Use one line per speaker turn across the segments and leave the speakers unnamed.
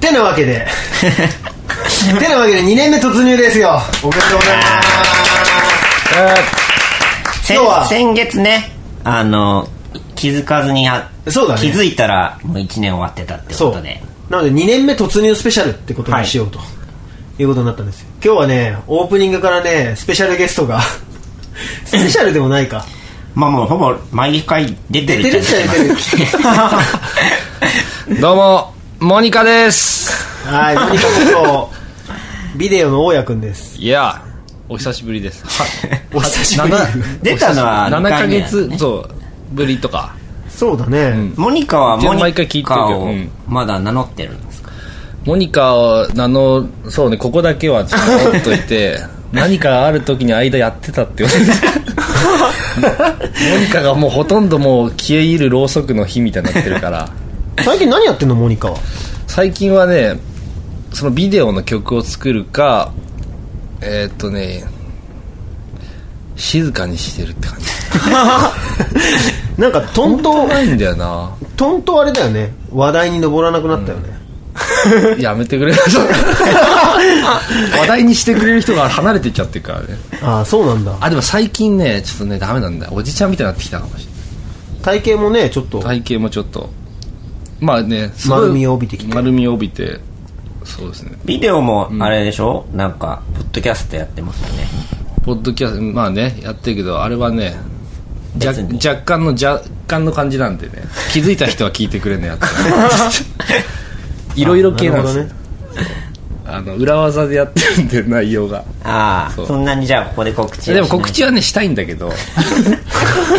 てなわけ でてなわけで2年目突入ですよおめでとうございます
先
今日は
先月ねあの気づかずにや
そうだね
気づいたらもう1年終わってたって
そ
こと
う
で
なので2年目突入スペシャルってことにしようと、い、うことになったんですよ今日はねオープニングからねスペシャルゲストが スペシャルでもないか
まあもうほぼ毎回出てる
出てるっちゃ出てる
どうも、モニカです。
はいモニカこと ビデオの大家くんです
いや、お久しぶりです。
お久しぶり
出たのは
7
二
ヶ
回目だ
月、そう、ぶりとか。
そうだね、
モニカはモ
毎回聞
ニ
いてる
カ
けど
を
うん
まだ名乗ってるんですか
モニカを名の、そうね、ここだけはちょっと取っとい て、何かある時に間やってたって言われてたモニカがもうほとんどもう消え入るろうそくの火みたいになってるから、
最近何やってんのモニカは
最近はね、そのビデオの曲を作るか、えーっとね、静かにしてるって感 じ。
なんかトント
ないんだよな。
トントあれだよね話題に上らなくなったよね、
やめてくれ話題にしてくれる人が離れていっちゃってるからね
ああそうなんだ
あでも最近ねちょっとねダメなんだおじちゃんみたいになってきたかもしれ
体型もねちょっと
ない体型もちょっとまあねすごい
丸みを帯びてきて
丸みを帯びてそうですね
ビデオもあれでしょ、なんかポッドキャストやってますよね
ポッドキャストまあねやってるけどあれはねじゃ
別に
若干の若干の感じなんでね気づいた人は聞いてくれねやつ いろいろ系なんです
な
よ
るほどね
あの裏技でやってるんで内容が
ああ
そ
そうそんなにじゃあここで告知はしない
でも告知はねしたいんだけ ど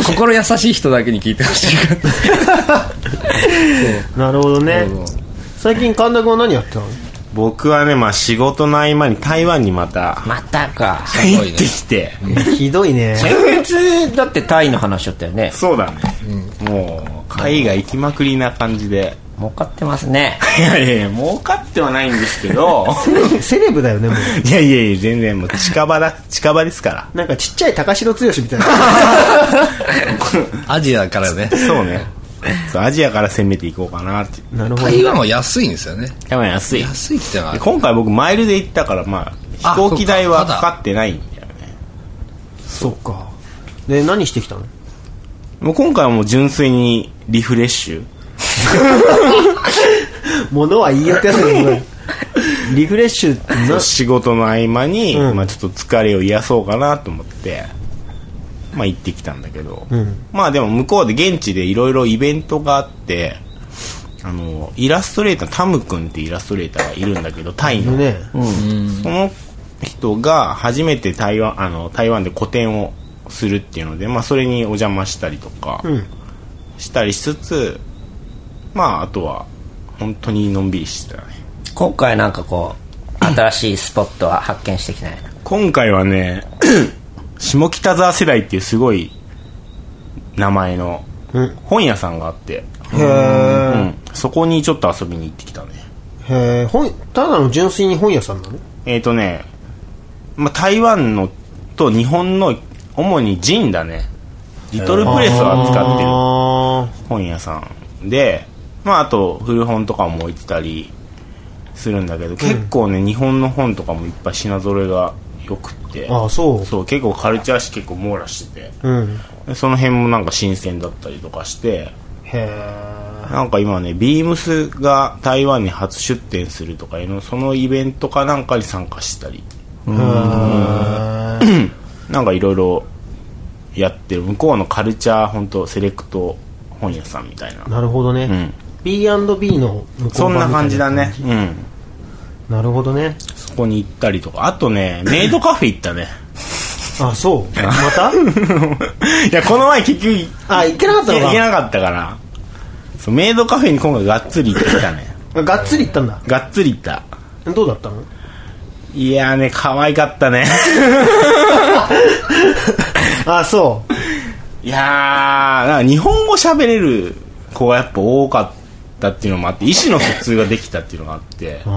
心優しい人だけに聞いてほしいから
なるほどね
そう
最近神田君は何やってたの
僕はね、まあ仕事の合間に台湾にまた
また か
入ってきて。
ひどいね
先月だってタイの話だったよね
そうだね。もう、海外行きまくりな感じで。
儲かってますね
いやいやいや、儲かってはないんですけど。
セレブだよねも
いやいやいや、全然もう近場だ、近場ですから。
うなんかちっちゃい高城剛みたいな
アジアからね
そうね。そうアジアから攻めていこうかなって。
なるほど
台湾は安いんですよね
多分安い。
安いってのは
で今回僕マイルで行ったから、まあ、
あ
飛行機代は
そうか
かかってないんだよね。
そっかで何してきたの
もう今回はもう純粋にリフレッシュ。
物は言いよってやつだけどリフレッシュってな
仕事の合間に、
うん
まあ、ちょっと疲れを癒そうかなと思って、まあ、行ってきたんだけど、
ん
まあでも向こうで現地でいろいろイベントがあってあのイラストレータータム君ってイラストレーターがいるんだけどタイの、
ね
その人が初めて台湾あの台湾で個展をするっていうので、まあ、それにお邪魔したりとか
うん
したりしつつ、まああとは本当にのんびりしてたね
今回なんかこう新しいスポットは発見してきない
今回はね 下北沢世代っていうすごい名前の
うん
本屋さんがあって、
へ
う
え
ん、そこにちょっと遊びに行ってきたね
へえ本ただの純粋に本屋さんなの
えっ、ー、とね、まあ、台湾のと日本の主にジンだねリトルプレスを扱ってる
あ
本屋さんで、まあ、あと古本とかも置いてたりするんだけど、結構ね日本の本とかもいっぱい品揃えがよくって
ーあーそう
そう結構カルチャー誌結構網羅してて
うん
でその辺もなんか新鮮だったりとかして
へえ
なんか今ねビームスが台湾に初出店するとかいうのそのイベントかなんかに参加したりなんかいろいろやってる向こうのカルチャー本当セレクト本屋さんみたいな
なるほどね、
うん
B&B の向こう版みたい
そんな感じだねうん
なるほどね
そこに行ったりとかあとねメイドカフェ行ったね
あそうま た
いやこの前結局行
あ行ってなかった
け
の
行け
か
なかったからそうメイドカフェに今回がっつり行ってきたね
あがっつり行ったんだ
がっつり行った
どうだったの
いやーね可愛かったね
あそ
いやーなんか日本語喋れる子がやっぱ多かったっていうのもあって意思の疎通ができたっていうのがあって
う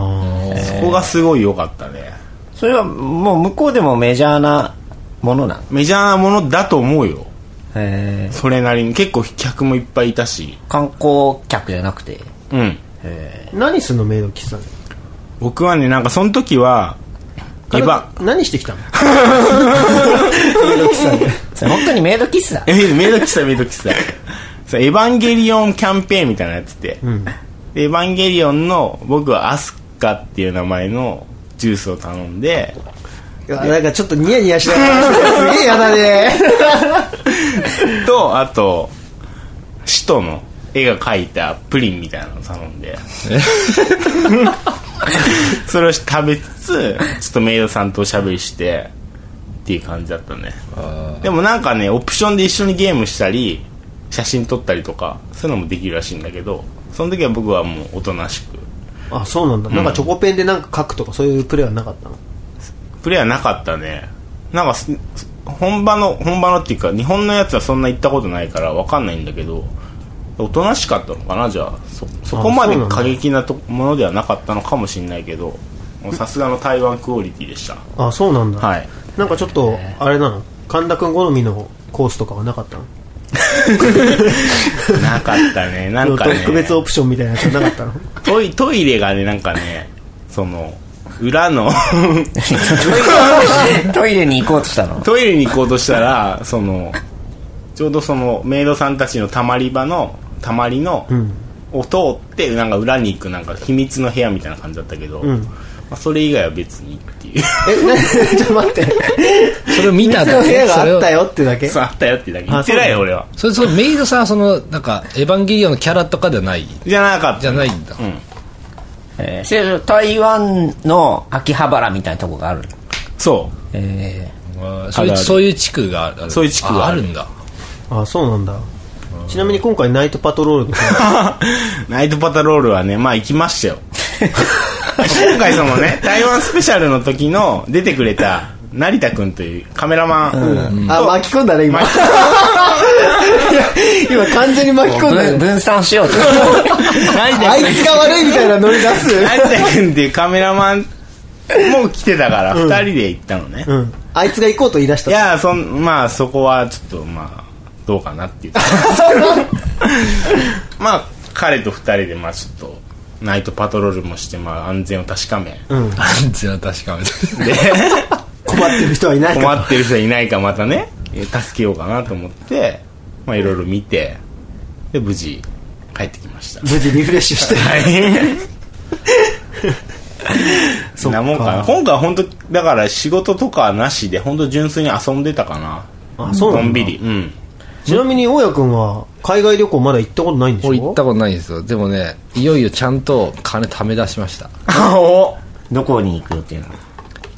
あ
そこがすごい良かったね
それはもう向こうでもメジャーなものなん
メジャーなものだと思うよ
へえ
それなりに結構客もいっぱいいたし
観光客じゃなくて
うん
え
何すんのメイド喫茶で
僕はねなんかその時はエ
彼
ヴァ
女何してきたのメイド喫茶で
ーそれ本当にメイド喫 茶
えメイド喫茶メイド 喫茶そうエヴァンゲリオンキャンペーンみたいなのやってて、でエヴァンゲリオンの僕はアスカっていう名前のジュースを頼んで
いやなんかちょっとニヤニヤしながらすげえやだ ね
とあと使徒の絵が描いたプリンみたいなのを頼んでそれを食べつつちょっとメイドさんとおしゃべりしてっていう感じだったねでもなんかねオプションで一緒にゲームしたり写真撮ったりとかそういうのもできるらしいんだけどその時は僕はもうおとなしく
あそうなんだ、なんかチョコペンでなんか書くとかそういうプレーはなかったの
プレイはなかったねなんかすす本場の本場のっていうか日本のやつはそんな行ったことないからわかんないんだけどおとなしかったのかなじゃあそそこまで
そうなんだ
過激なとものではなかったのかもしれないけどもうさすがの台湾クオリティでした
あそうなんだ、
はい
なんかちょっとあれなの神田君好みのコースとかはなかったの
なかったねなんかね
特別オプションみたいなやつはなか ったの
トイトイレがねなんかねその裏の
トイレに行こうとしたの
トイレに行こうとしたらそのちょうどそのメイドさんたちのたまり場のたまりの、
うん
を通ってなんか裏に行くなんか秘密の部屋みたいな感じだったけど、
ん
まあ、それ以外は別にっていう
えなちょっと待って
それを見た
店の
だ
部
け
屋が
それ
あっ
を
たよってだけ
そうあったよってだけ言ってないよ
あそう
俺は
それそのメイドさんはそのなんかエヴァンゲリオンのキャラとかではない
じゃなかった
じゃないんだ
うん、
えー、それ台湾の秋葉原みたいなとこがある
そ
え
そういう
あるある
そういう地区がある
そういう地区がある
あんだ
あそうなんだちなみに今回ナイトパトロールの
う ナイトパトロールはねまあ行きましたよ今回そのね台湾スペシャルの時の出てくれた成田君というカメラマン、
あ巻き込んだね今いや 今完全に巻き
ー
込んだ
分
よ
分散し ようと
成田
あい
君
つが悪いみたいなノリ出す
成田君っていうカメラマンも来てたから2人で行ったのね、
うんあいつが行こうと言い出し
い
た
やそんまあそこはちょっとまあどうか なっていうまあ彼と二人でまあちょっとナイトパトロールもしてまあ安全を確かめ
うん
安全は確かめて
で
困ってる人はいないから
困ってる人いないかまたねえ助けようかなと思ってまあいろいろ見てで無事帰ってきました
無事リフレッシュして
はいそんなもんかな今回は本当だから仕事とかはなしで本当純粋に遊んでたかな
あそうなんだ
のんびりうん
ちなみに大家君は海外旅行まだ行ったことないんでしょ
俺行ったことないんですよでもねいよいよちゃんと金貯め出しました
お
どこに行くっていうの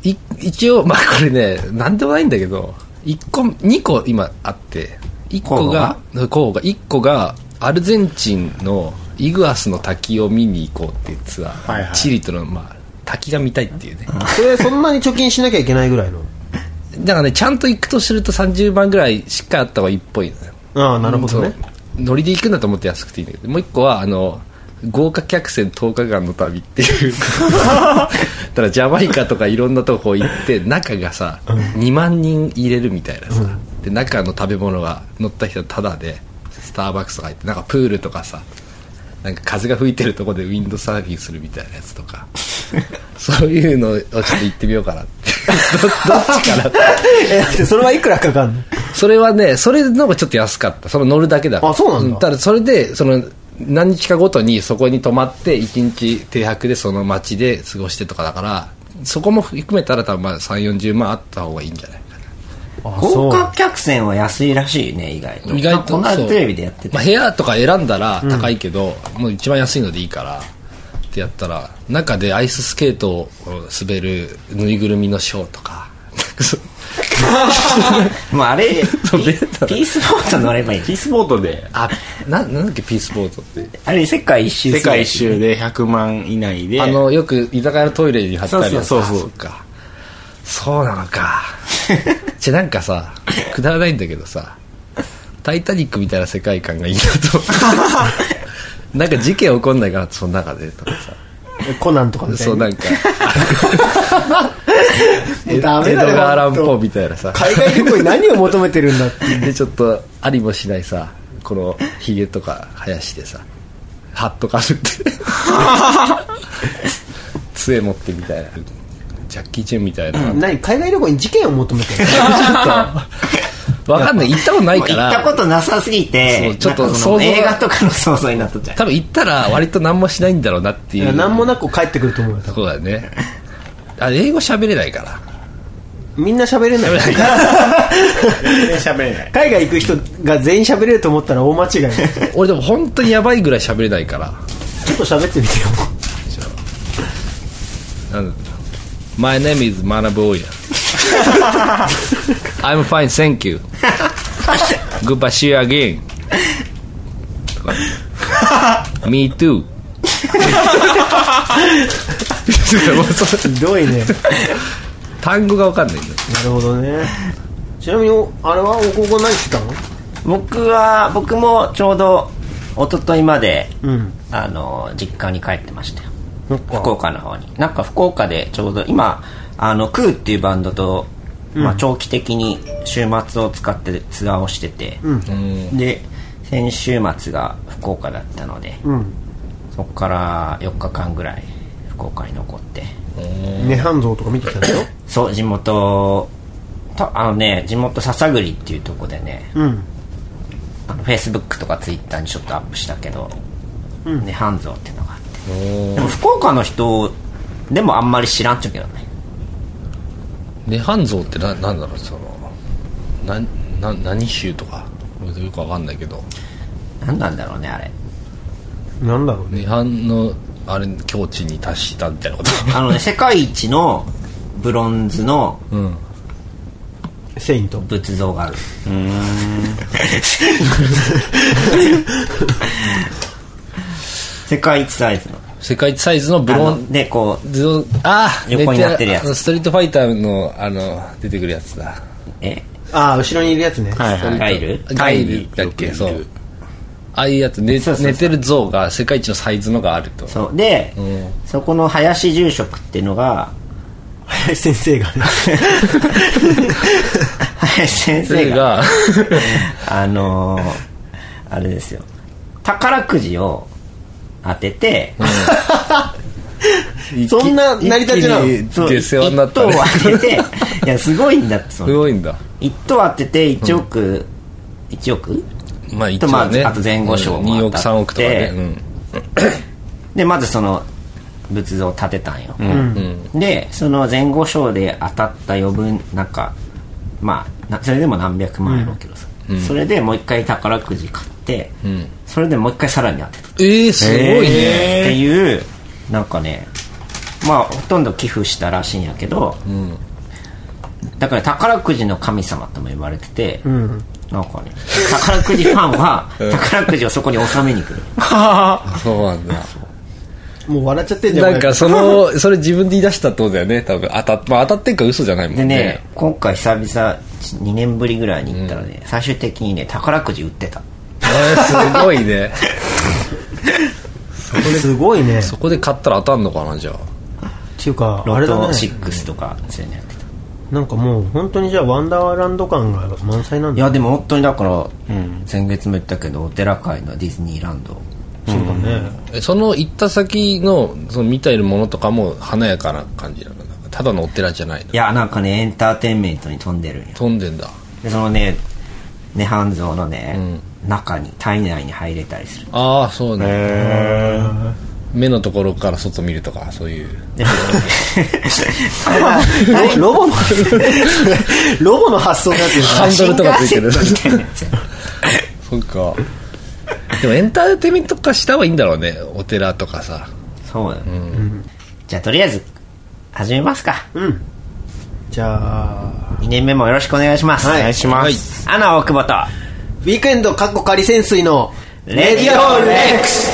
い一応まあこれね何でもないんだけど一個2個今あって1個が候補が1個がアルゼンチンのイグアスの滝を見に行こうっていうツアー、
はいはい
チリとの、まあ、滝が見たいっていうね
それそんなに貯金しなきゃいけないぐらいの
だからねちゃんと行くとすると30万ぐらいしかあった方がいいっぽいのよ
ああなるほどね
そうノリで行くんだと思って安くていいんだけどもう一個はあの豪華客船10日間の旅ってい うだからジャマイカとかいろんなとこ行って中がさ、2万人入れるみたいなさ、で中の食べ物が乗った人はタダでスターバックスとか入ってなんかプールとかさなんか風が吹いてるとこでウィンドサーフィンするみたいなやつ とかそういうのをちょっと行ってみようかなって どどっちかなって
えだってそれはいくらかかんの
それはね、それのがちょっと安かった。その乗るだけだから。
あそうなんだ
ただそれで、その、何日かごとにそこに泊まって、一日停泊でその町で過ごしてとかだから、そこも含めたら多分まあ3、40万あった方がいいんじゃないか
あ
豪
そう
華客船は安いらしいね意外と
な。意外と。
こんな
そう
テレビでやってて、
まあ部屋とか選んだら高いけど、もう一番安いのでいいから、ってやったら、中でアイススケートを滑るぬいぐるみのショーとか、なんかそう
まあ、あれピ
そうベタだ
ピースボート乗ればいい
ピースボートで
あ、 な、なんだっけ、ピースボートって。
あれ世界一周する
世界一周で100万以内で
あの、よく居酒屋のトイレに貼ってあるやつ
そうそうそ
あ
う
っか。そうな のか。じゃ、なんかさ、くだらないんだけどさ、タイタニックみたいな世界観がいいな と思って。なんか事件起こんないかなってその中でとかさ。
コナンとかみたい
そう、
な
なんか、
もう ダメ
江戸
だよ
川乱歩
本
みたいなさ
当。海外旅行に何を求めてるんだって
で、ちょっと、ありもしないさ、このヒゲとか生やしてさ、ハットかぶって杖持ってみたいなジャッキー・チェンみたいな、
何海外旅行に事件を求めてる
わかんない行ったことない
行っ
から
たことなさすぎ
そ
て
うちょっと
なんかその
想像が
映画とかの想像になっとっちゃう
多分行ったら割と何もしないんだろうなって
い
い
や
う
何もなく帰ってくると思うよ多分
そうだねあ英語喋れないから
みんな喋れない
全然喋れない
海外行く人が全員喋れると思ったら大間違い
俺でも本当にやばいぐらい喋れないから
ちょっと喋ってみてよ
なんだ My name is Manaboya I'm fine thank you Goodbye see you again Me too もうそれ
ひどいね
単語がわかんないんだよ
なるほどねちなみにおあれはおここ何してたの
僕は僕もちょうど一昨日まで、
うん
あの実家に帰ってましたよ
そっ
福岡の方になんか福岡でちょうど今あのクーっていうバンドと、まあ、長期的に週末を使ってツアーをしてて、で先週末が福岡だったので、
うん
そこから4日間ぐらい福岡に残って
涅槃像とか見てきたんだよ
そう地元たあのね地元篠栗っていうとこでね
うん
あのフェイスブックとかツイッターにちょっとアップしたけど、ねハンゾーっていうのがあってでも福岡の人でもあんまり知らんっちゃうけどね
涅槃像ってななんだろうそのなな何州とか俺よくわかんないけど
何なんだろうねあれ
なんだろうね
涅槃のあれ境地に達したみたいなこと
あ のね世界一のブロンズの
うん
セイント
仏像がある 世界一サイズの
世界一サイズのブ
あ
ロ
の
ン
でこう
ズのああ
横になってるやつ
ストリートファイターのあの出てくるやつだ
え
ああ後ろにいるやつね
はいはい
ガイル
ガイルだっけ
よく
そ
見る
うああいうやつ寝
そうそうそう
寝てる像が世界一のサイズのがあると
そうで、そこの林住職っていうのが
林先生がね
林先
そ
生
れ
が
が
あのー、あれですよ宝くじを当てて、
そんな成り立ちなの
一気
そう
に下世話になったね
一等を当てていやすごいんだってそ
す
の
ごいんだ
一等当てて1億、一1億
まあ一
とまあ
応ね
あと前後賞も
2億
当た
3
って
億とかねうん
でまずその仏像を建てたんよ、でその前後賞で当たった余分なんかまあなそれでも何百万やろうけどさ、それでもう一回宝くじ買って、それでもう一回さらに当てた、
ええすご
っ
い ね
ていうなんかねまあほとんど寄付したらしいんやけど、だから宝くじの神様とも言われてて、なんかね宝くじファンは宝くじをそこに納めに来る
そうなんだ
もう笑っちゃってんじゃん
なんか
俺
そのそれ自分で言い出したってことだよね多分当たっ,、まあ、当たってんか嘘じゃないもん
で
ね
ね今回久々2年ぶりぐらいに行ったらね、最終的にね宝くじ売ってた
えーすごいね
すごいね
そこで買ったら当たんのかなじゃあ
っていうかあ
ロ
れ
ト
だね
6とかそういうのやってた、
なんかもう本当にじゃあワンダーランド感が満載なん
い
だ
やでも本当にだから、先月も言ったけどお寺界のディズニーランド
そうだね
えその行った先のその見ているものとかも華やかな感じなのなんかただのお寺じゃないの
いやなんかねエンターテインメントに飛んでるんよ
飛んでんだ
でそのね涅槃像のね、中に体内に入れたりする
ああそうね目のところから外見るとかそういう
でも
ロロボの ロボの発想になってる
ハンドルとかついてる
みたいなやつ
そっかでもエンターテインメント化した方がいいんだろうねお寺とかさ
そうだよ、じゃあとりあえず始めますか、
じゃあ
2年目もよろしくお願いします、
お願いします
アナ大久保と
ウィークエンドかっこ仮潜水の
レディオレックス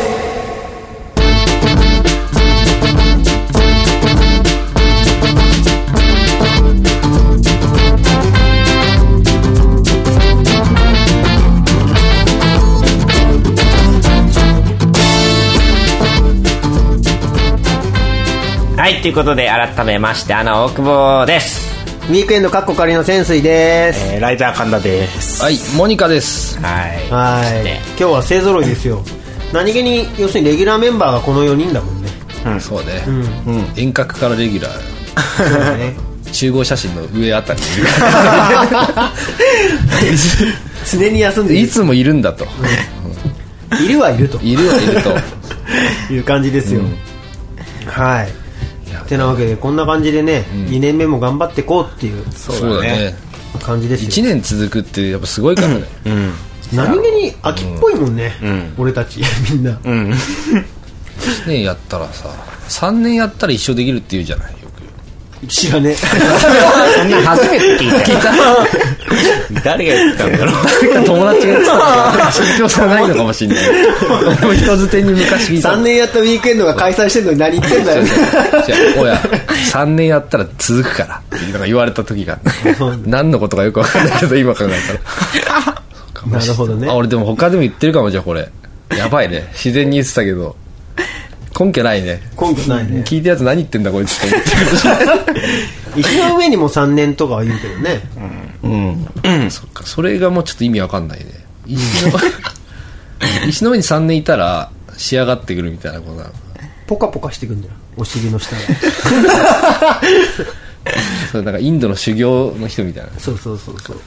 はいということで改めましてアナ大久保です
ウィークエンドかっこ仮の潜水です
えーライター神田です
はいモニカです
はい
は
そし
い
て
今日は勢ぞろいですよ何気に要するにレギュラーメンバーがこの4人だもんね
そうね、遠隔からレギュラー
そうだね
集合写真の上あたりにい
常に休ん
る
でい
い
る
つもいるんだと
いるはいると
いるはい ると
いう感じですよ、はいてなわけでこんな感じでね、2年目も頑張ってこうっていう
そうだね
感じです
1
よ
年続くってやっぱすごいからね
何気に秋っぽいもんね、俺たち みんな、
1年やったらさ3年やったら一生できるって言うじゃないよく
知 らね
そんな初めて聞いた誰が言ったんだろう
友達が言ってた から信憑性ないのかもしんない俺も人づてに昔聞
え
いた
3年やったウィークエンドが開催してんのに何言ってんだよ
違うおや3年やったら続くからってなんか言われた時があ って何のことかよく分かんないけど今考えたら
なるほどね
あ俺でも他でも言ってるかもじゃあこれやばいね自然に言ってたけど根拠ないね
根拠ないね
聞いたやつ何言ってんだこいつって思ってるかもし
石の上にも3年とかは言うけどね、
れないそっかそれがもうちょっと意味わかんないね石 の石の上に3年いたら仕上がってくるみたいなことなの
ポカポカしてくんじゃんお尻の下が
それなんかインドの修行の人みたいな
そうそうそうそう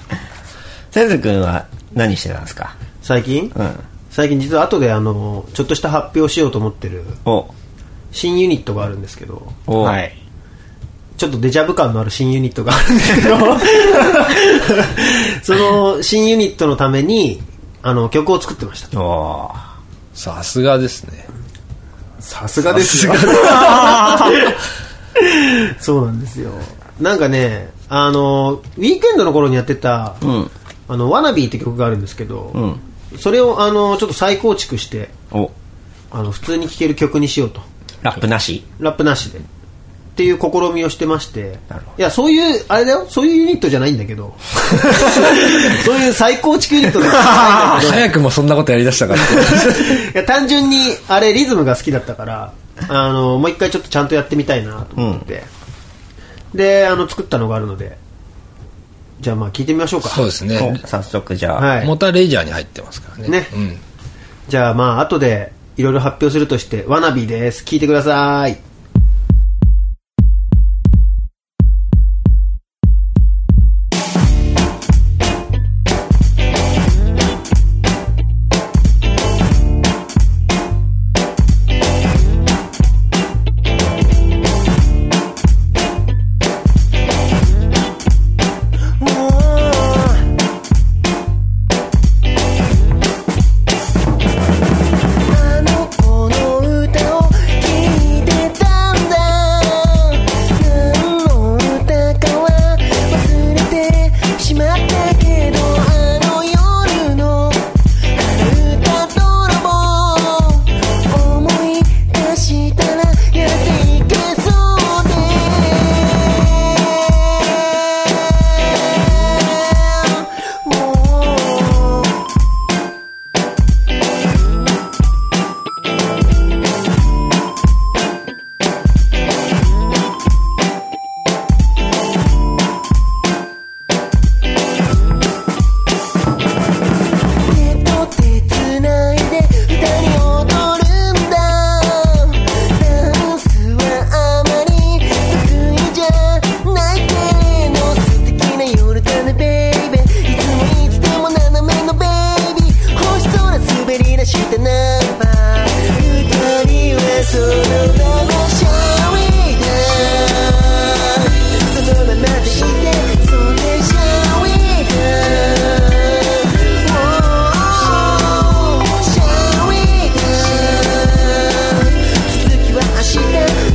せずくんは何してたんですか
最近、
うん
最近実は後であのちょっとした発表しようと思ってる
お
新ユニットがあるんですけど
お
はい
ちょっとデジャブ感のある新ユニットがあるんですけど その新ユニットのためにあの曲を作ってました
お
さすがですね
さすがですよ そうなんですよなんかねあのウィークエンドの頃にやってた「
ん
あのワナビーって曲があるんですけど、
ん
それをあのちょっと再構築して
お
あの普通に聴ける曲にしようと
ラップなし
ラップなしでっていう試みをしてまして
なるほ
い
ど
やそういうあれだよそういうユニットじゃないんだけ どそういう再構築ユニットじゃないんだけど
早くもそんなことやりだしたから
いや単純にあれリズムが好きだったからあのもう一回ちょっとちゃんとやってみたいなと思って、であの作ったのがあるのでじゃあまあ聞いてみましょうか
そうですね
お早速じゃあ、
はい
モーターレジャーに入ってますからね
ね
うん、
じゃあまあ後でいろいろ発表するとしてわなびです聞いてくださ い
あの子の歌を聴いてたんだ何の歌かは忘れてしまったけどあの夜の春歌泥棒思い出したらやっていけそうでもう手と手つないで歌に踊るんだダンスはあまり得意じゃないけれど素敵な夜だねベイベーいつもいつでも斜めのベイビー星空滑り出したナンバー二人はその歌をシャウィーダそのままでいてそんでシャウィーダ Shall we dance? 続きは明日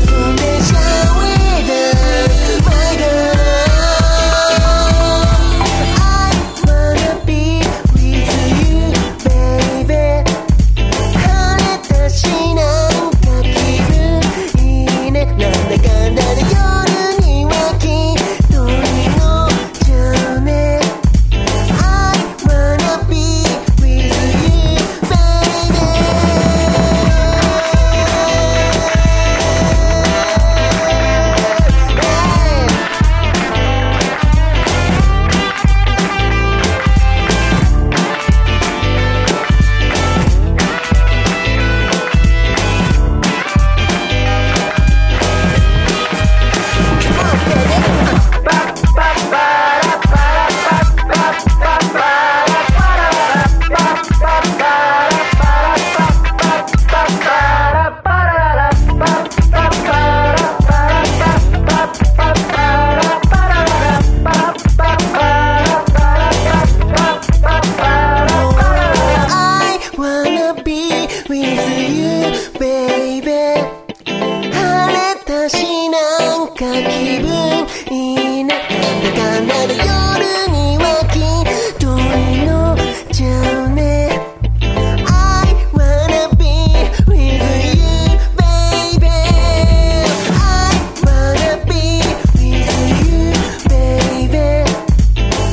そんで Shall we dance? My girl I wanna be with you baby 晴れたしなんか気分いいねなんだかんだで夜にはきっと祈っちゃうね I wanna be with you baby 私なんか気分いいななんだかんだで夜にはきっと祈っちゃうね I wanna be with you baby I wanna be with you baby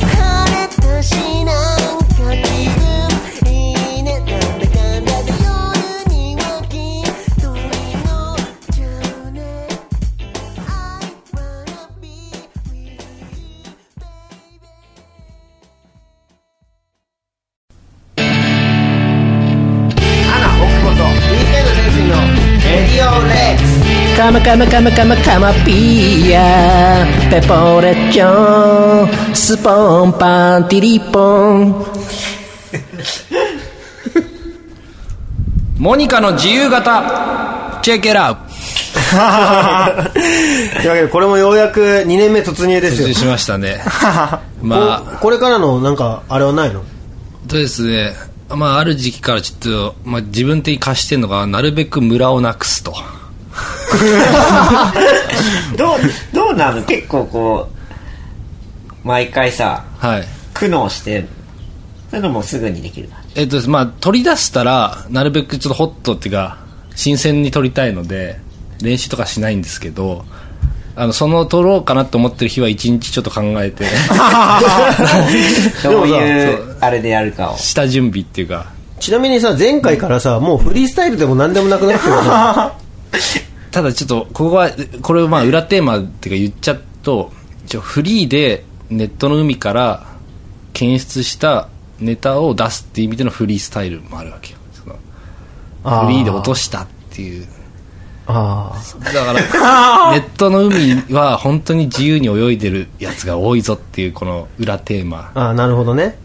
晴れたしなんか気分いいねなんだかんだで夜にはきっと祈っちゃうね I wanna be with you baby
アナ奥本 DK の先生のレディオレックス
カマカマカマカマカマピーヤペポレッチョンスポンパンティリポン
モニカの自由形チェケラウ
というわけでこれもようやく2年目突入ですよ
しました ねまあ
ここれからのなんかあれはないの
そうですねまあある時期からちょっと、まあ、自分的に貸してるのがなるべくムラをなくすと
どうどうなの結構こう毎回さ
はい
苦悩してそういうのもすぐにでき る感じ
えっとまあ取り出したらなるべくちょっとホットっていうか新鮮に取りたいので練習とかしないんですけどあのその取ろうかなと思ってる日は一日ちょっと考えて
どういうあれでやるかを
下準備っていうか
ちなみにさ前回からさもうフリースタイルでも何でもなくなってるよね
ただちょっとここはこれをまあ裏テーマっていうか言っちゃうと一応フリーでネットの海から検出したネタを出すっていう意味でのフリースタイルもあるわけよその
あ
フリーで落としたっていう
あー
だからネットの海は本当に自由に泳いでるやつが多いぞっていうこの裏テーマ
あーなるほどね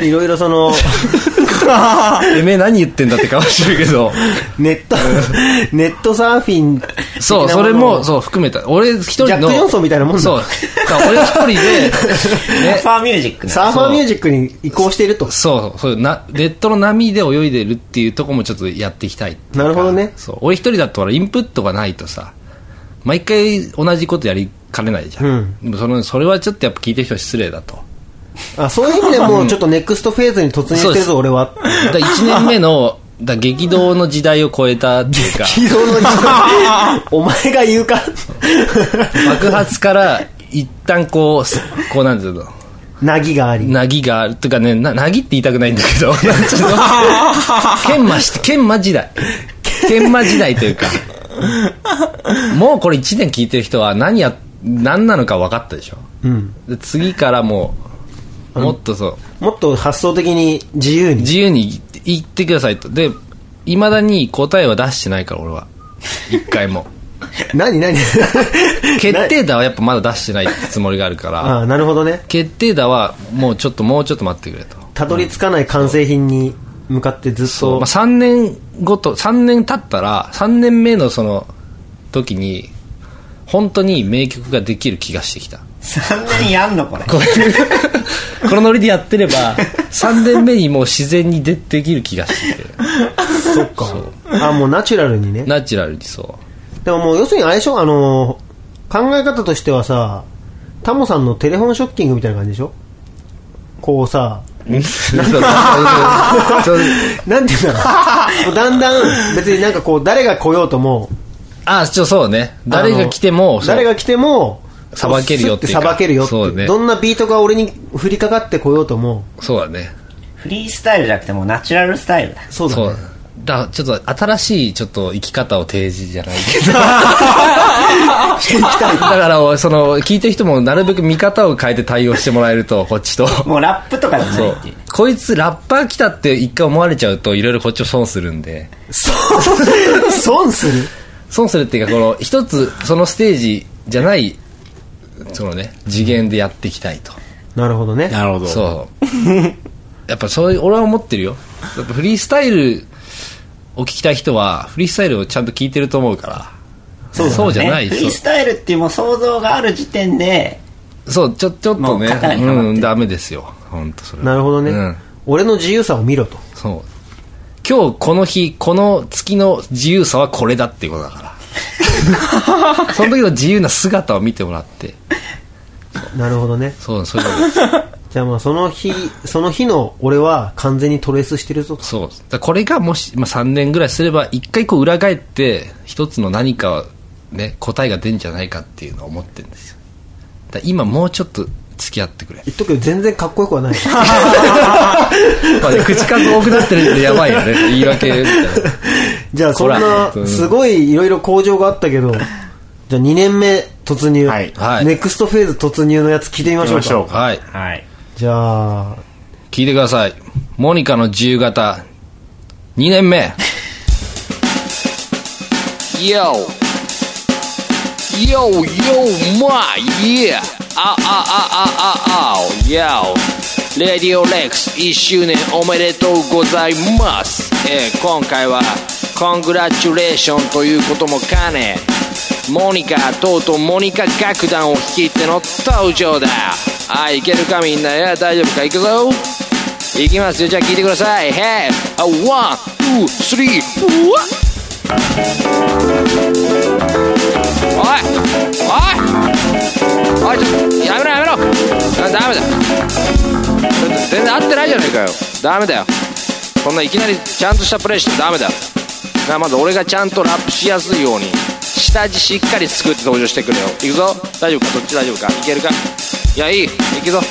いろいろそ の
てめえ何言ってんだって顔してるけど
ネットネットサーフィン
そうそれもそう含めた俺一人の
ジャックジョンソンみたいなもんだ
そうだから俺一人でね
サーファーミュージックな
サーファーミュージックに移行していると
そうそうなネットの波で泳いでるっていうとこもちょっとやっていきたい
なるほどね
そう俺一人だとほらインプットがないとさ毎回同じことやりかねないじゃん、
うん
でもそのそれはちょっとやっぱ聞いてる人は失礼だと
あそういう意味でもうちょっとネクストフェーズに突入してるぞ俺 は
だ1年目のだ激動の時代を超えたってい うか
軌道の時代お前が言うか
爆発から一旦こうすこうなんていうの
なぎがあり
なぎがあるとかねななぎって言いたくないんだけど なんていうの研磨して研磨時代研磨時代というかもうこれ1年聞いてる人は何や何なのか分かったでしょ
うん
で次からもうもっとそう
もっと発想的に自由に
自由に言ってくださいとでいまだに答えは出してないから俺は一回も
何何
決定打はやっぱまだ出してないつもりがあるから
ああなるほどね
決定打はもうちょっともうちょっと待ってくれと
たどり着かない完成品に向かってずっ
そう、
と
まあ、3年ごと3年経ったら3年目のその時に本当に名曲ができる気がしてきた
そんなにやんのこれ
これ このノリでやってれば3年目にもう自然にでできる気がしてきて
そっかあもうナチュラルにね
ナチュラルにそ
でももう要するに相性あのー考え方としてはさタモさんのテレフォンショッキングみたいな感じでしょこうさ
う そう
なんていうんだろ うもうだんだん別になんかこう誰が来ようとも
あちょそうね誰が来て
あ
も
の
そう
誰が来ても
さばけるよっていう
さ
か
ばけるよってい
そううね
どんなビートが俺に降りかかってこようとも
そうだね
フリースタイルじゃなくてもうナチュラルスタイルだ
そうだ
そ
ね
うだからちょっと新しいちょっと生き方を提示じゃない けどだからその聞いてる人もなるべく見方を変えて対応してもらえるとこ っちと
もうラップとかじゃな
そ
いうっていう
こいつラッパー来たって一回思われちゃうといろいろこっちを損するんで
損する
損するっていうかこの一つそのステージじゃないそのね次元でやっていきたいと
なるほどね
なるほど。
そう。 やっぱそういう、俺は思ってるよ。やっぱフリースタイルを聞きたい人は、フリースタイルをちゃんと聞いてると思うから。そう,、じゃない
ねフリース
そ
タイルっていうもう想像がある時点で
う。そう、ちょ、ちょっ
も
と
う
ね
肩が、広がって
うん、ダメですよ。本当それは
なるほどね、
うん。
俺の自由さを見ろと
そう。今日この日、この月の自由さはこれだっていうことだから。 その時の自由な姿を見てもらって
なるほどね
そうそういうことです
じゃあまあその日その日の俺は完全にトレースしてるぞと
そうですだからこれがもし、まあ、3年ぐらいすれば一回こう裏返って一つの何か、ね、答えが出るんじゃないかっていうのを思ってるんですよだから今もうちょっと付き合ってくれ、
言っとくけど全然かっこよくはない
まあね、口数多くなってるんでやばい よね言い訳みたいな
じゃあそんな
こら
すごいいろいろ向上があったけどじゃあ2年目突入、
はい
はい
ネクストフェーズ突入のやつ聞いてみましょう
行きましょ
か
うか
はい
はい。
じゃあ
聞いてくださいモニカの自由形2年目 YO YO YO ま Yeah あああああああ YO レディオレックス1周年おめでとうございます、えー今回はコングラチュレーションということも兼ねモニカとうとうモニカ楽団を率いての登場だあいけるかみんないや大丈夫かいくぞいきますよじゃあ聞いてください Hey! あワン、ツー、スリー、うわっおいおいおいちょっとやめろやめろあダメだちょっと全然合ってないじゃないかよダメだよこんないきなりちゃんとしたプレーしてダメだよなあまず俺がちゃんとラップしやすいように下地しっかり作って登場してくれよいくぞ大丈夫かどっち大丈夫かいけるかいやいいいくぞは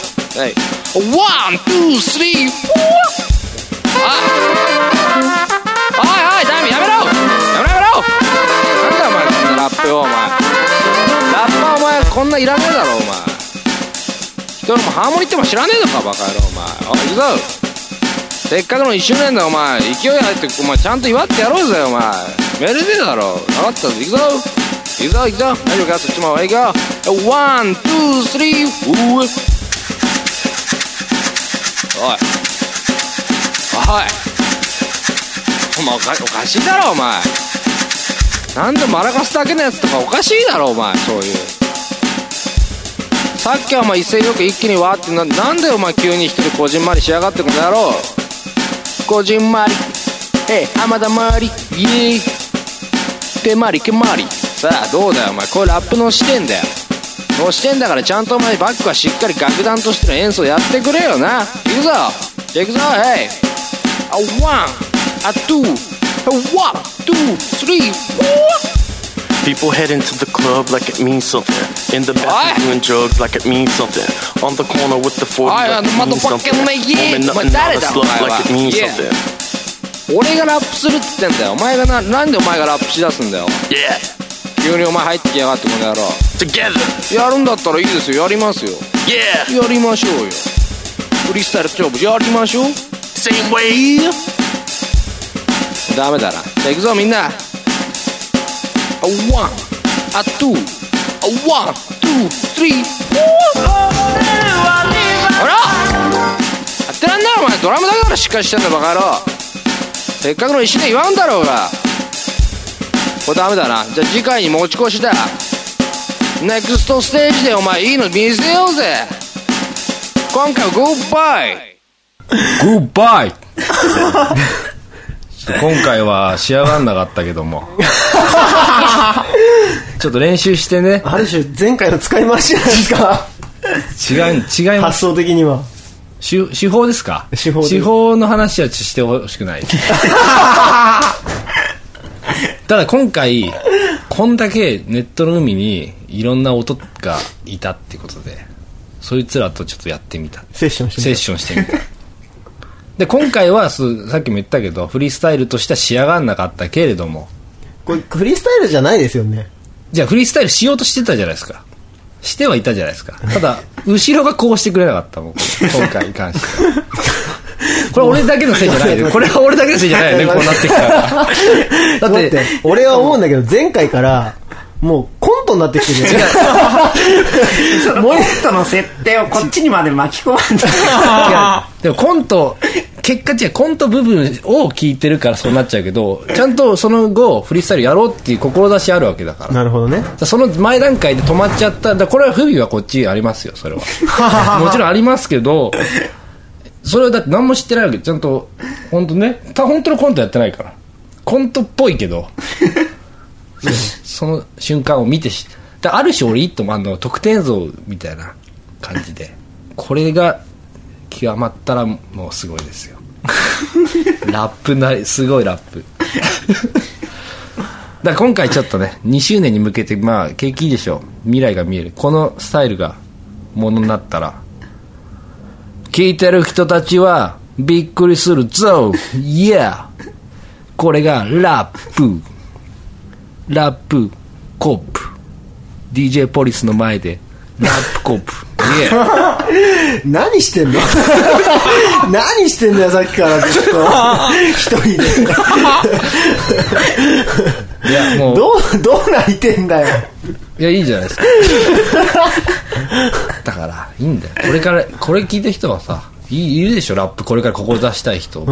いワンツースリーフォーあおいおいダメやめろやめろやめろなんだお前こんなラップよお前ラッパーお前こんないらねえだろお前人のもハーモニーっても知らねえのかバカ野郎お前おい行くぞせっかくの1周年だお前勢いあってお前ちゃんと祝ってやろうぜお前めでてえだろ分かったぞ行くぞ行くぞ行くぞ大丈夫かそっちも行くよワンツースリーうーおいおいお前おかおかしいだろお前なんでマラカスだけのやつとかおかしいだろお前そういうさっきはお前一斉よく一気にわーってななんでお前急に一人こじんまりしやがってこの野郎こじんまりええ浜田まりいえけまりけまりさあどうだよお前これラップの視点だよの視点だからちゃんとお前バックはしっかり楽団としての演奏やってくれよな行くぞじゃあ行くぞヘイあワンあツーワンツースリーフォー
People head into the club like it means something. In the
Aye.
bathroom doing drugs like it means something. On the corner with the 40
Aye,
like
and
it means
motherfucking
something.
like, yeah,
Woman
but
nothing
that
all
is
the
a
sluts like it
lie,
means
yeah.
something.
俺がラップするって言ってんだよお前がななんでお前がラップしだすんだよ
Yeah,
急にお前入ってきやがってこの野郎
together.
やるんだったらいいですよやりますよ
Yeah,
やりましょうよフリースタイル勝負やりましょう
same way.
ダメだなじゃあ行くぞみんなあワンあツーあワンツースリーフォーほらやってらんねえお前ドラムだからしっかりしてんだバカ野郎せっかくの石で祝うんだろうがこれダメだなじゃあ次回に持ち越しだネクストステージでお前いいの見せようぜ今回はグッバイグッバイ今回は仕上がんなかったけ どもちょっと練習してね
ある種前回の使い回しじゃないです か
違う違います
発想的には
手手法ですか
手法です
の話はしてほし くないただ今回こんだけネットの海にいろんな音がいたってことでそいつらとちょっとやってみた
セッションしてみ
セッションし てみたで今回はすさっきも言ったけどフリースタイルとしては仕上がんなかったけれども
これフリースタイルじゃないですよね
じゃあフリースタイルしようとしてたじゃないですか。してはいたじゃないですか。ただ、後ろがこうしてくれなかったもん、今回に関しては。これ俺だけのせいじゃないよね。これは俺だけのせいじゃないよね、こうなってきたら。だ
だ
っ
ってて、俺は思うんだけど前回からもうコントになってきてる
そのコントの設定をこっちにまで巻き込まんと。
いや でもコント、結果違う、コント部分を聞いてるからそうなっちゃうけど、ちゃんとその後、フリースタイルやろうっていう志あるわけだから。
なるほどね
だからその前段階で止まっちゃっただからこれは不備はこっちありますよそれはもちろんありますけどそれはだって何も知ってないわけちゃんと本当ねた本当のコントやってないからコントっぽいけど
その瞬間を見てしである種俺いいと思うあの得点像みたいな感じでこれが極まったらもうすごいですよラップなりすごいラップだから今回ちょっとね2周年に向けてまあ景気いいでしょう未来が見えるこのスタイルがものになったら聞いてる人たちはびっくりするぞ Yeah これがラップラップコップ DJ ポリスの前でラップコップ Yeah
何してんの 何してんのよ、さっきからずっと。 一人で。
いやもう
どう、どう泣いてんだよ。
いやいいじゃないですか だからいいんだよこれからこれ聞いた人はさいいるでしょラップこれからここ出したい人、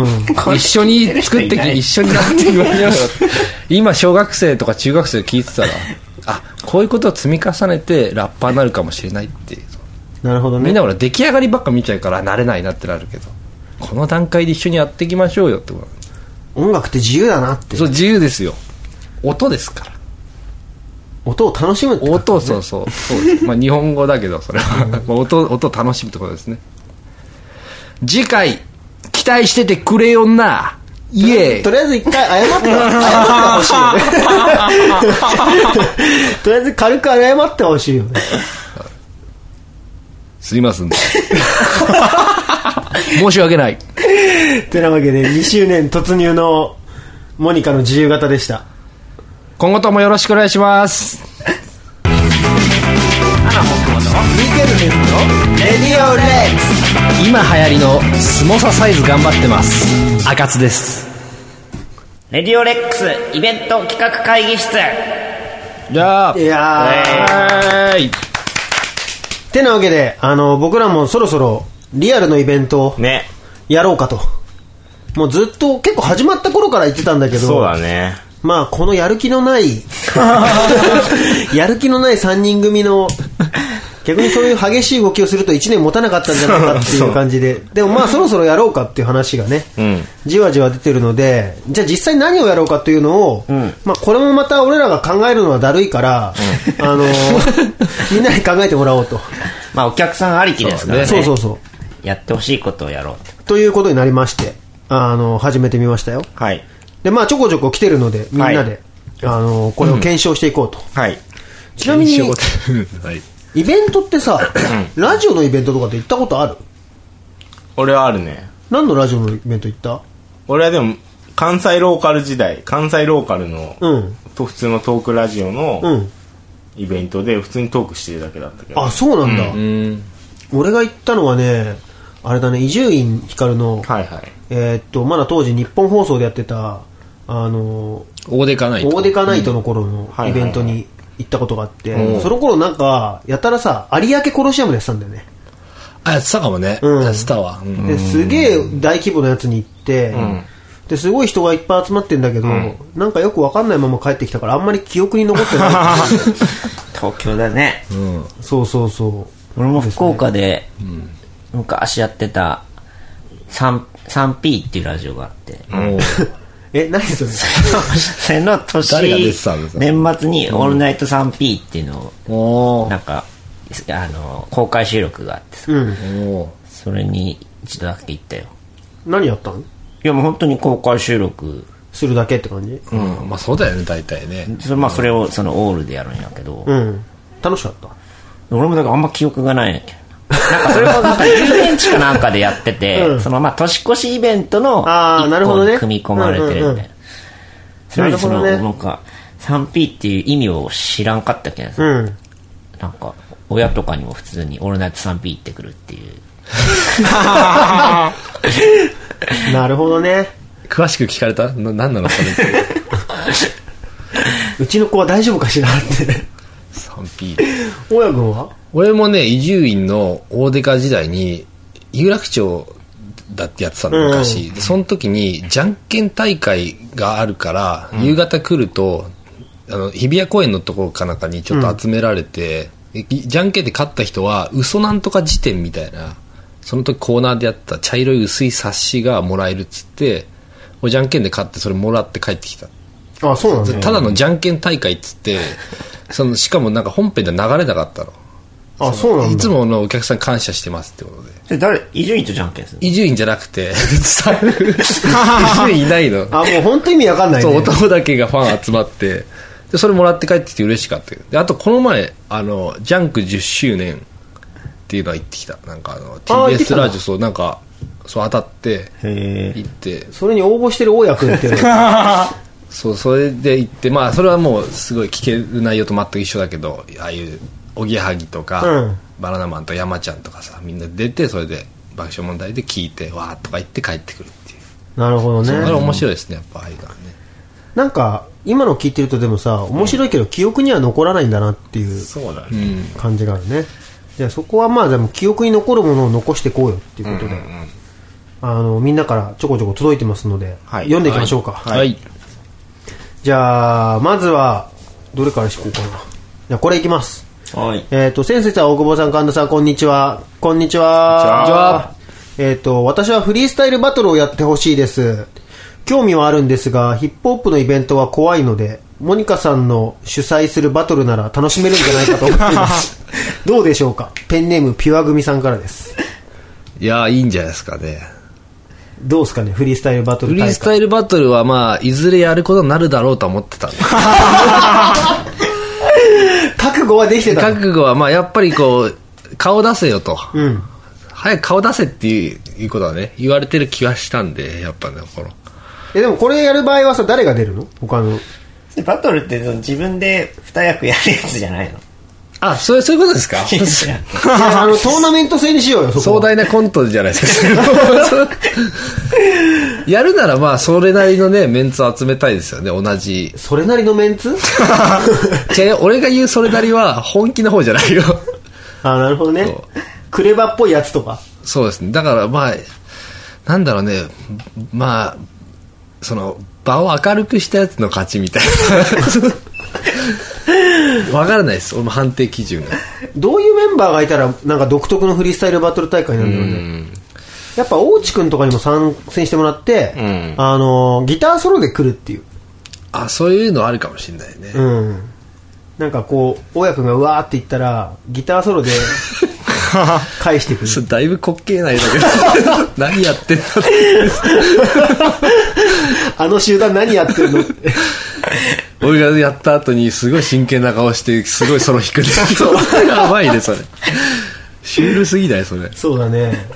一緒に作ってき一緒になって言われようよ今小学生とか中学生聞いてたらあこういうことを積み重ねてラッパーになるかもしれないっていう
なるほど
みん
ね。
なほら出来上がりばっか見ちゃうから慣れないなってなるけどこの段階で一緒にやっていきましょうよってこと
音楽って自由だなって。
そう自由ですよ音ですから
音を楽しむってこと
音そうそうそうですまあ日本語だけどそれはまあ音音楽しむってことですね次回期待しててくれよなイエー
と
イ
りあえず一回謝って、謝ってほしいよね。とりあえず軽く謝ってほしいよね。
すいま せん申し訳ない
てなわけで、2周年突入のモニカの自由形でした。
今後ともよろしくお願いします今流行りのスモササイズ頑張ってます赤津です
レディオレックスイベント企画会議室
じゃあ
いやー。
はい
てなわけで、あの、僕らもそろそろリアルのイベントを
ね。
やろうかと。もうずっと結構始まった頃から言ってたんだけど、
そうだね。
まあこのやる気のないやる気のない3人組の逆にそういう激しい動きをすると1年持たなかったんじゃないかっていう感じででもまあそろそろやろうかっていう話がね、
ん
じわじわ出てるのでじゃあ実際何をやろうかというのを、まあこれもまた俺らが考えるのはだるいから、あのみんなに考えてもらおうと、
まあお客さんありきですからね
そうそうそう
やってほしいことをやろうって
ということになりましてあの始めてみましたよ
はい。
でまあちょこちょこ来てるのでみんなで、
はい
あのこれを検証していこうと、
はい。
ちなみに
はい
イベントってさ、ラジオのイベントとかって行ったことある
俺はあるね。
何のラジオのイベント行った
俺はでも、関西ローカル時代、関西ローカルの、
うん。
と普通のトークラジオ
う
の
ん。
イベントで普通にトークしてるだけだったけど。
あ、そうなんだ。
うん
俺が行ったのはね、あれだね、伊集院光の、
はいはい。
えーっと、まだ当時日本放送でやってた、あの、
大でかない
大デカナイトの頃の
は
イ
いはい
ベ
はい
ントに行ったことがあって、その頃なんか、やたらさ、有明コロシアムでやってたんだよね。
あやってたかもね、
うん
やってたわ、うん
ですげえ大規模なやつに行って、ですごい人がいっぱい集まってんだけど、なんかよくわかんないまま帰ってきたからあんまり記憶に残ってない
東京だね、
そうそうそ
俺も福岡で昔やってた 3- 3P っていうラジオがあって、
おー
うえ何それ
それの年
誰が出てたんですか
年末に「オールナイト 3P」っていうの
お
をなんか、あの公開収録があってさ
うん
ーおー
それに一度だけ行ったよ
何やったん
いやもう本当に公開収録
するだけって感じ
うん、まあそうだよね大体ね
それ,、まあ、それをそのオールでやるんやけど、
うん楽しかった
俺もだからあんま記憶が ないんやけどなんかそれもなんか遊園地かなんかでやってて、
うん
そのまあ年越しイベントの
あーな
一
るほど
個
ね
に組み込まれてるみたいな、
うんうんうん
それよりその
なるほどね
なんか 3P っていう意味を知らんかったけんさ、
うん
なんか親とかにも普通に「オールナイト 3P」行ってくるっていう
なるほどね
詳しく聞かれたな何なのそれって
うちの子は大丈夫かしらって
3P
大家君は
俺もね伊集院の大デカ時代に有楽町だってやってたの昔、でその時にじゃんけん大会があるから、夕方来るとあの日比谷公園のところかなんかにちょっと集められて、いじゃんけんで勝った人は嘘なんとか辞典みたいなその時コーナーでやってた茶色い薄い冊子がもらえるっつって俺じゃんけんで勝ってそれもらって帰ってきた
あ、そうなんだ。
ただのじゃんけん大会っつって、そのしかもなんか本編では流れなかったの。
あ、そうなんだ。
いつものお客さん感謝してますってことで。
それ誰伊集院とじゃんけんする
伊集院じゃな くて、スタッフ伊集院いないの。
あ、もう本当意味わかんない、
そう、
ね。
男だけがファン集まって、で、それもらって帰ってきて嬉しかったけど。であと、この前、あの、ジャンク10周年っていうのは行ってきた。なんかあの、
あー行ってきた
TBS
んだ
ラジオ、そう、なんか、そう当たって、
へ
行って、
それに応募してる大家君っていうの が
そう、それで行って、まあ、それはもう、すごい聞ける内容と全く一緒だけど、ああいう、おぎやはぎとか、
うん
バナナマンと山ちゃんとかさ、みんな出て、それで、爆笑問題で聞いて、わーとか言って帰ってくるっていう。
なるほど
それ
ね。
面白いですね、やっぱ、ああいうのはね。
なんか、今の聞いてるとでもさ、面白いけど記憶には残らないんだなっていう
そうだね。
感じがあるね。じゃあそこはまあでも記憶に残るものを残してこうよっていうことで、あの、みんなからちょこちょこ届いてますので、
はい
読んでいきましょうか。
はい。
じゃあ、まずは、どれからしこうかな。じゃあこれいきます。
えはい
えっ、と、先生さん、大久保さん、神田さん、こんにちは。こんにちは。
こんにちは
えっ、と、私はフリースタイルバトルをやってほしいです。興味はあるんですが、ヒップホップのイベントは怖いので、モニカさんの主催するバトルなら楽しめるんじゃないかと思っています。どうでしょうかペンネームピュア組さんからです。
いやー、いいんじゃないですかね。
どうですかねフリースタイルバト
フ
ル
リー
大
スタ
会。
イルバトルはまあ、いずれやることになるだろうとは思って たんで
覚悟はできてた。
覚悟はまあ、やっぱりこう、顔出せよと。
うん。
早く顔出せっていういうことはね、言われてる気はしたんで、やっぱね、この。
え、でもこれやる場合はさ、誰が出るの他の。
バトルってその自分で二役やるやつじゃないの
あ、それ、そう いうことですか
い やあの、トーナメント制にしようよ、そこ
壮
は。
大なコントじゃないですか。 やるならまあ、それなりのね、メンツを集めたいですよね、同じ。
それなりのメンツ
違うよ俺が言うそれなりは、本気の方じゃないよ。
あなるほどね
そう。
クレバっぽいやつとか。
そうですね。だからまあ、なんだろうね、まあ、その、場を明るくしたやつの勝ちみたいな。 わからないです。俺も判定基準が。
どういうメンバーがいたら、なんか独特のフリースタイルバトル大会なんだろうね。やっぱ、大地くんとかにも参戦してもらって、あの、ギターソロで来るっていう。
あ、そういうのあるかもしれないね。
うん。なんかこう、大家くんがうわーって言ったら、ギターソロで返してくる。
そ れだいぶ滑稽ないだけど 何やってんだって
あの集団何やってるの
俺がやった後にすごい真剣な顔してすごいソロ弾くね やばいねそれシュールすぎないそれ
そうだね。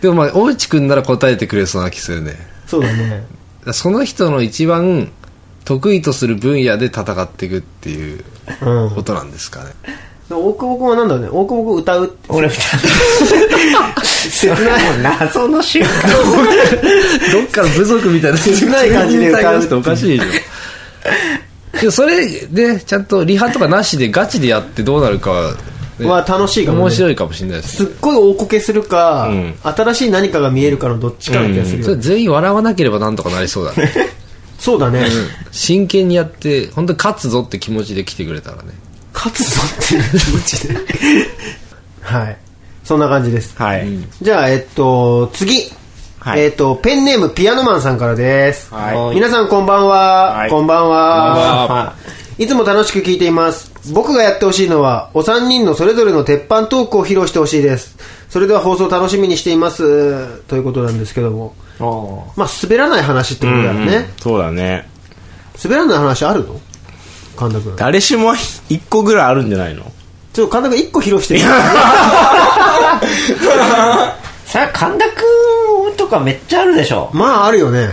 でもまあ大内くんなら答えてくれそうな気するね
そうだね。
その人の一番得意とする分野で戦っていくっていう
うん。
ことなんですかね。
大久保くんはなんだろうね。大久保くん歌うって。
俺二 切ないもう謎の瞬間
どっかの部族みたいな。
切ない感じで歌う
っておかしいでしょ。でもそれで、ちゃんとリハとかなしでガチでやってどうなるか、ね
は楽しいかもね
面白いかもしれないです
す
ね。
っごい大こけするか、新しい何かが見えるかのどっちかな気がするよ、
それ全員笑わなければなんとかなりそうだね。
そうだね、
真剣にやって、本当に勝つぞって気持ちで来てくれたらね。
勝つぞっていう気持ちではいそんな感じです、
はい。
じゃあえっと次、
はい
えっとペンネームピアノマンさんからです、
はい
皆さんこんばんは、
はい
こんばんは
こんばん
いつも楽しく聞いています僕がやってほしいのはお三人のそれぞれの鉄板トークを披露してほしいですそれでは放送楽しみにしていますということなんですけどもまあ滑らない話ってことだよね、
うんそうだね。
滑らない話あるの神田君ちょっ
誰しも一個ぐらいあるんじゃないの
と神田君1個披露してみて
それは神田くんとかめっちゃあるでしょ
まああるよね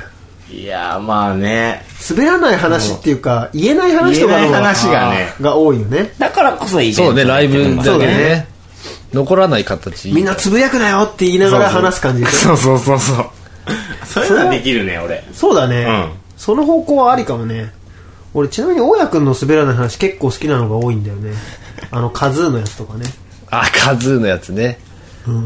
いやー、まあね。
滑らない話っていうか言えない話と
言え
か
ない
の
話がね。
が多いよね
だからこそイベント
そうね、ライブ
そ
だ
う
け
だ
ね
ね。
残らない形。
みんなつぶやくなよって言いながら話す感じで
そうそうそうそう。そういうのはできるね、俺。
そうだね、
うん
その方向はありかもね俺ちなみに大家君の滑らない話結構好きなのが多いんだよねあのカズーのやつとかね
あ、カズーのやつね。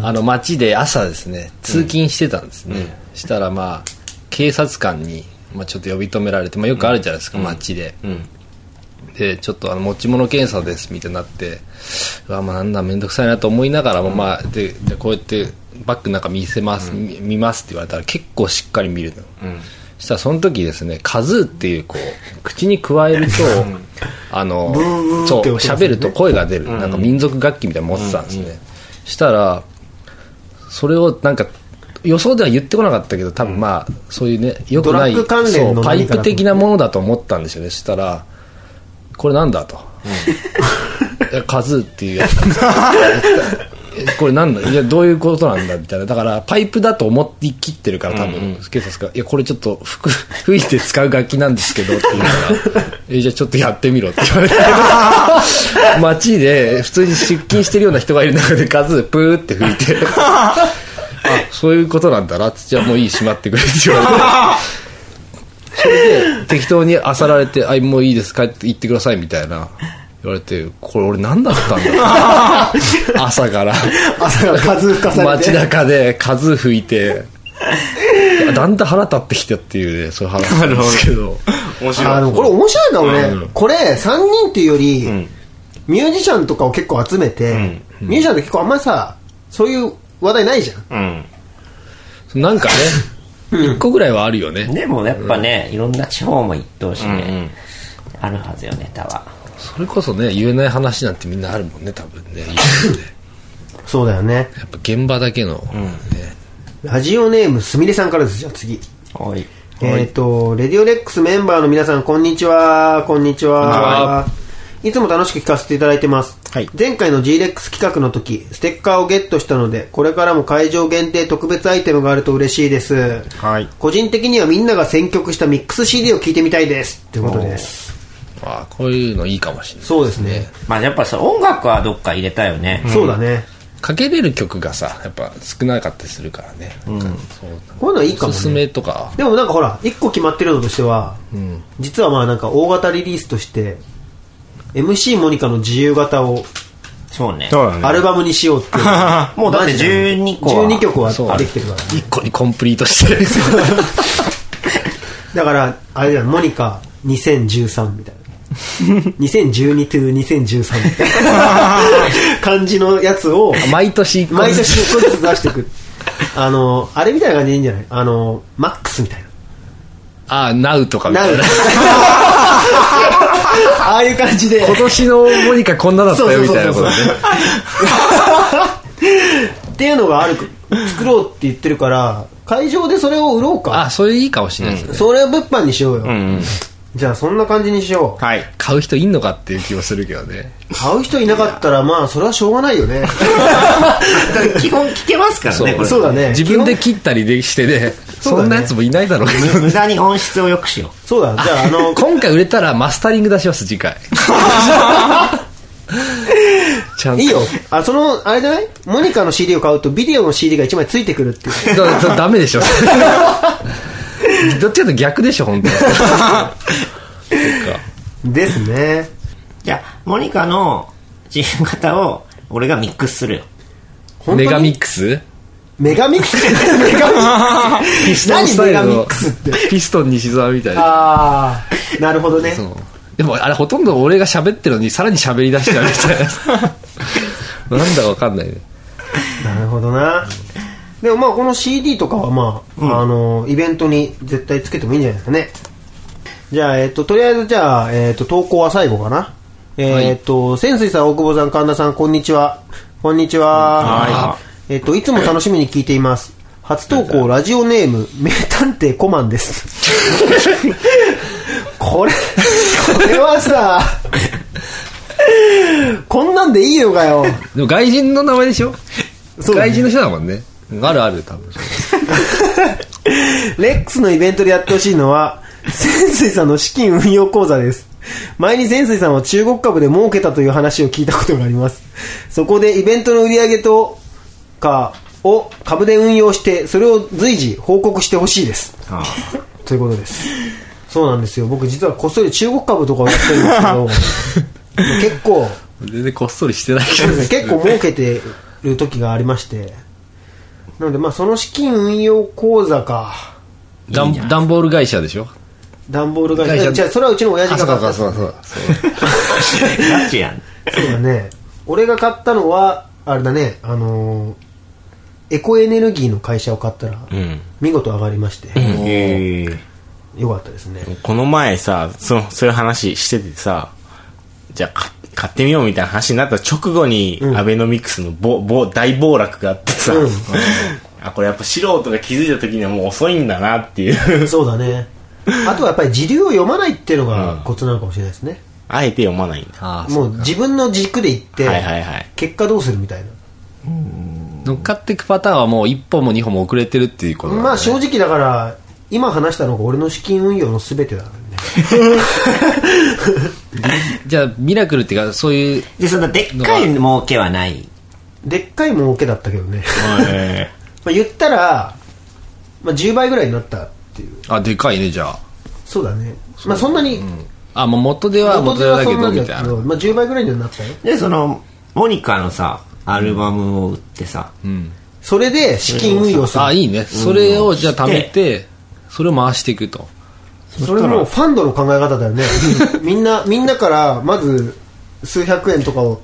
あの、街で朝ですね、通勤してたんですね。したら、まあ、警察官に、まあ、ちょっと呼び止められて、まあ、よくあるじゃないですか、街で。で、ちょっと、あの、持ち物検査です、みたいになって、うわ、まあ、なんだ、めんどくさいなと思いながらも、まあ、で、じゃあこうやって、バッグなんか見せます、み見ますって言われたら、結構しっかり見るの。そしたらその時ですねカズーっていうこう口に加えるとあの
ー
そう
って音がするね
喋ると声が出るなんか民族楽器みたいなの持ってたんですねしたらそれをなんか予想では言ってこなかったけど多分まあそういうねよくない
ドラッグ関連の
そうパ
何
イ
かだと思った
プ的なものだと思ったんですよねしたらこれなんだ と、いやカズーっていうやつなんですけどこれなんだいやどういうことなんだみたいなだからパイプだと思い切ってるから多分、警察が「いやこれちょっと 吹く吹いて使う楽器なんですけど」って言うから「えじゃあちょっとやってみろ」って言 われて街で普通に出勤してるような人がいる中でカズープーって吹いてあそういうことなんだなってじゃあもういいしまってくれって言われて。 適当に漁られて「あもういいです帰って行ってください」みたいな言われてこれ俺何だったんだ 朝から
朝から数吹かされ
街
て。
中で風吹いてだんだん腹立ってきたっていうねそういう話なんですけど
面白い。
あの、これ面白いかもね。これ、3人っていうより、ミュージシャンとかを結構集めて、ミュージシャンって結構あんまりさ、そういう話題ないじゃん。
うん。
なんかね一個ぐらいはあるよね
でもやっぱね、いろんな地方も行ってほしいね、あるはずよネタは
それこそね言えない話なんてみんなあるもんね多分 ね
そうだよね。
やっぱ現場だけの、
ラジオネーム、すみれさんからです。じゃあ次。
おい
えっ、と、レディオレックスメンバーの皆さん、こんにちは。こんにちは。いつも楽しく聞かせていただいてます。
はい
前回の G-REX 企画の時、ステッカーをゲットしたので、これからも会場限定特別アイテムがあると嬉しいです。
はい
個人的にはみんなが選曲したミックス CD を聴いてみたいです。ってことです。
ああこういうのいいかもしれない
そうですね。
まあやっぱさ音楽はどっか入れたよね、
そうだね。
かけれる曲がさやっぱ少なかったりするからね、なんかそう
こういうのいいか
お
も
すす
ね。
めとか
でもなんかほら、一個決まってるのとしては、実はまあなんか大型リリースとして、MC モニカの自由型を
そうね
そうだね。
アルバムにしようっていう。
もうだって12個は
12曲は
そう
できてるから。
一個にコンプリートして
だから、あれだよ、モニカ2013みたいな。2012 to 2013みたいな感じのやつを、
毎年一個
毎
ずつ
年一個ずつ出していく。あの、あれみたいな感じでいいんじゃないあの、マックスみたいな。
ああナウとかみ
な
たい
る
な
ああいう感じで。
今年のモニカこんなだったよみたいなことね
そうそうっていうのがある、作ろうって言ってるから、会場でそれを売ろう
あ
か。
それいいかもしれないですね、
それを物販にしようよ。
うん。
じゃあそんな感じにしよう。
はい。
買う人いんのかっていう気もするけどね
買う人いなかったら、まあ、それはしょうがないよね。
基本聞けますからねこ れ
そうだね。
自分で切ったりでしてね
そうだね
そんなやつもいないだろうけどね
無駄に音質を良くしよ
そうだ、じゃあ、あ の、
今回売れたらマスタリング出します次 回ちゃんと
いいよ。あ、その、あれじゃないモニカの CD を買うと、ビデオの CD が1枚ついてくるっていう。
だだダメでしょ どっちかというと逆でしょ本当にそっか
ですね。
うじゃあモニカの自由型を俺がミックスするよ
本当
メ
に
ガミックス
メガミックスメガミックス
ピストンスタイ
何メ
ル
ガミ
の
ックスって
ピストン西澤みたいな
あー、なるほどね。
そうでもあれほとんど俺が喋ってるのにさらに喋り出しちゃうみたい ななんだかわかんないね
なるほどな。でもまあ、この CD とかはまあ、あの、イベントに絶対つけてもいいんじゃないですかね。じゃあ、えっと、とりあえずじゃあ、えっと、投稿は最後かな。えっと、潜水さん、大久保さん、神田さん、こんにちは。こんにちは。はい。えっと、いつも楽しみに聞いています。初投稿、ラジオネーム、名探偵コマンです。 これ、これはさ、こんなんでいいのかよ。
でも外人の名前でしょ
そうだね
外人の人だもんねあるある多分
レックスのイベントでやってほしいのは、潜水さんの資金運用講座です。前に潜水さんは中国株で儲けたという話を聞いたことがあります。そこでイベントの売り上げとかを株で運用して、それを随時報告してほしいです。ということです。そうなんですよ。僕実はこっそり中国株とかをやってるんですけど、結構、
全然こっそりしてないけ
そう
ど
ですね、結構儲けてる時がありまして。なので、まあ、その資金運用講座か。
ダンダンボール会社でしょ
段ボール会
会
社。
社
じゃあ、それはうちの親父が買った。そう
うそう
ガチやん
だね。俺が買ったのは、あれだね、あのーエコエネルギーの会社を買ったら、見事上がりまして。
へえ
よかったですね。
この前さそのそういう話しててさじゃあか買ってみようみたいな話になった直後に、アベノミクスのぼぼ大暴落があってさ、 あこれやっぱ素人が気づいた時にはもう遅いんだなっていう
そうだね。あとはやっぱり時流を読まないっていうのがコツなのかもしれないですね。
あえて読まないんだ
ああ
もう自分の軸でいって、
はいはいはい
結果どうするみたいな。
乗っかっていくパターンはもう一歩も二歩も遅れてるっていうことだね
まあ正直だから、今話したのが俺の資金運用の全てだからね。
じゃあミラクルっていうかそういう
でそんなでっかい儲けはない
でっかい儲けだったけどね。
はい
まあ言ったら、まあ、10倍ぐらいになったっていう。
あでかいねじゃあ
そうだね。まあそんなに、
あもう元では元
手
でだけ
んな
ど
んだ
み
け
たい
ど、
な
まあ10倍ぐらいにはなったよ。
でそのモニカのさアルバムを売ってさ、
それで資金運用する。
あいいねそれをじゃあ貯めてそれを回していくと
それもうファンドの考え方だよ ねみんなみんなからまず数百円とかを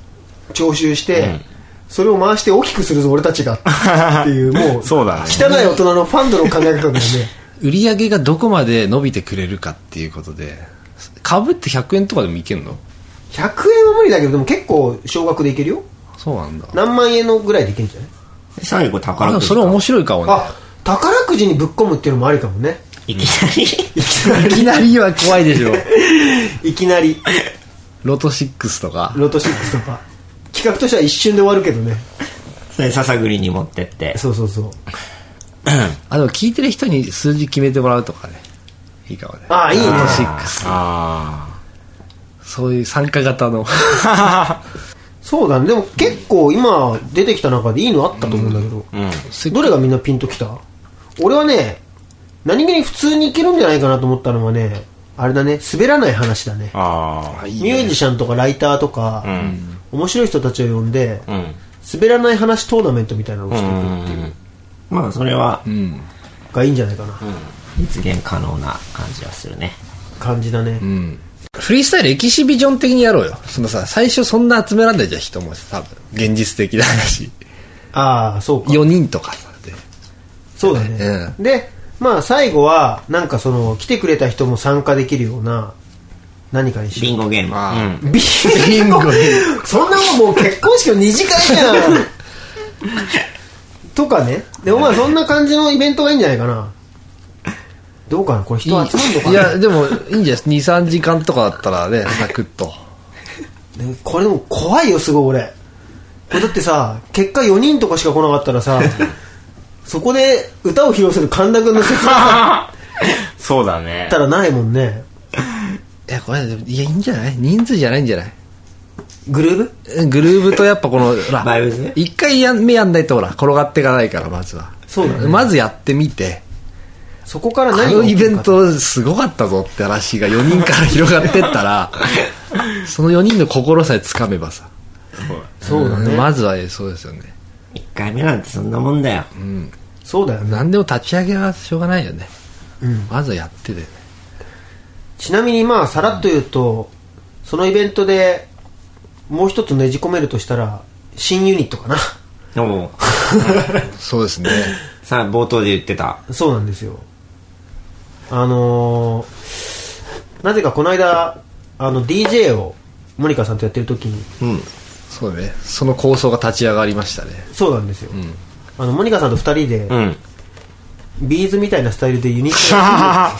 徴収して、それを回して大きくするぞ俺たちがっていう もう
そうだね
汚い大人のファンドの考え方だよね
売り上げがどこまで伸びてくれるかっていうことで株って100円とかでもいけんの
100円は無理だけどでも結構少額でいけるよ
そうなんだ
何万円のぐらいでいけるんじゃない
で最後
あで
宝
も
くじ
それ面白いかもね
あ宝くじにぶっ込むっていうのもありかもね
いきなり
いきなりは怖いでしょ
いきなり
ロト6とか
ロト6とか企画としては一瞬で終わるけどね
それささぐりに持ってって
そうそうそう
あでも聞いてる人に数字決めてもらうとかねいいかもね
ああいいね
ロト6
あ
そういう参加型の
そうだねでも結構今出てきた中でいいのあったと思うんだけど、どれがみんなピンときた俺はね何気に普通にいけるんじゃないかなと思ったのはねあれだね滑らない話だね
あああ
ミュージシャンとかライターとか、面白い人たちを呼んで、
ん
滑らない話トーナメントみたいなのをしていくっていう、
まあそれは
がいいんじゃないかな、
実現可能な感じはするね
感じだね、
フリースタイルエキシビジョン的にやろうよそのさ最初そんな集めらんないじゃん人も多分現実的な話
ああそうか
4人とかさで
そうだね、でまあ最後はなんかその来てくれた人も参加できるような何かにしよう
ビンゴゲーム
ビンゴそんなもんもう結婚式の二次会じゃん とかねでもまあそんな感じのイベントがいいんじゃないかなどうかなこれ人集まるのか
い
な
やでもいいんじゃない23時間とかだったら ねサクッと
ねこれでも怖いよすごい俺これだってさ結果4人とかしか来なかったら さそこで歌を披露する神田君の説明だ
そうだね
ったらないもんね
いやこれでもいやいいんじゃない人数じゃないんじゃない
グルーブ
うんグルーブとやっぱこのほら
バイブスね
一回やん目やんないとほら転がっていかないからまずは
そうだね
まずやってみて
そこから
あ
何
の
が
イ
起き
ベ
る
ン
かって
トすごかったぞって話が4人から広がってった らその4人の心さえつかめばさ
そうだ
うん
ね
まずはそうですよね
1回目なんてそんなもんだよ
そうだよね
何でも立ち上げはしょうがないよね、まずはやってて、ね、
ちなみにまあさらっと言うと、そのイベントでもう一つねじ込めるとしたら新ユニットかな
おう
そうですね
さあ冒頭で言ってた
そうなんですよあのーなぜかこの間あの DJ をモニカさんとやってる時に
そうねその構想が立ち上がりましたね
そうなんですよ、あのモニカさんと二人で、
ん
ビーズみたいなスタイルでユニットを いや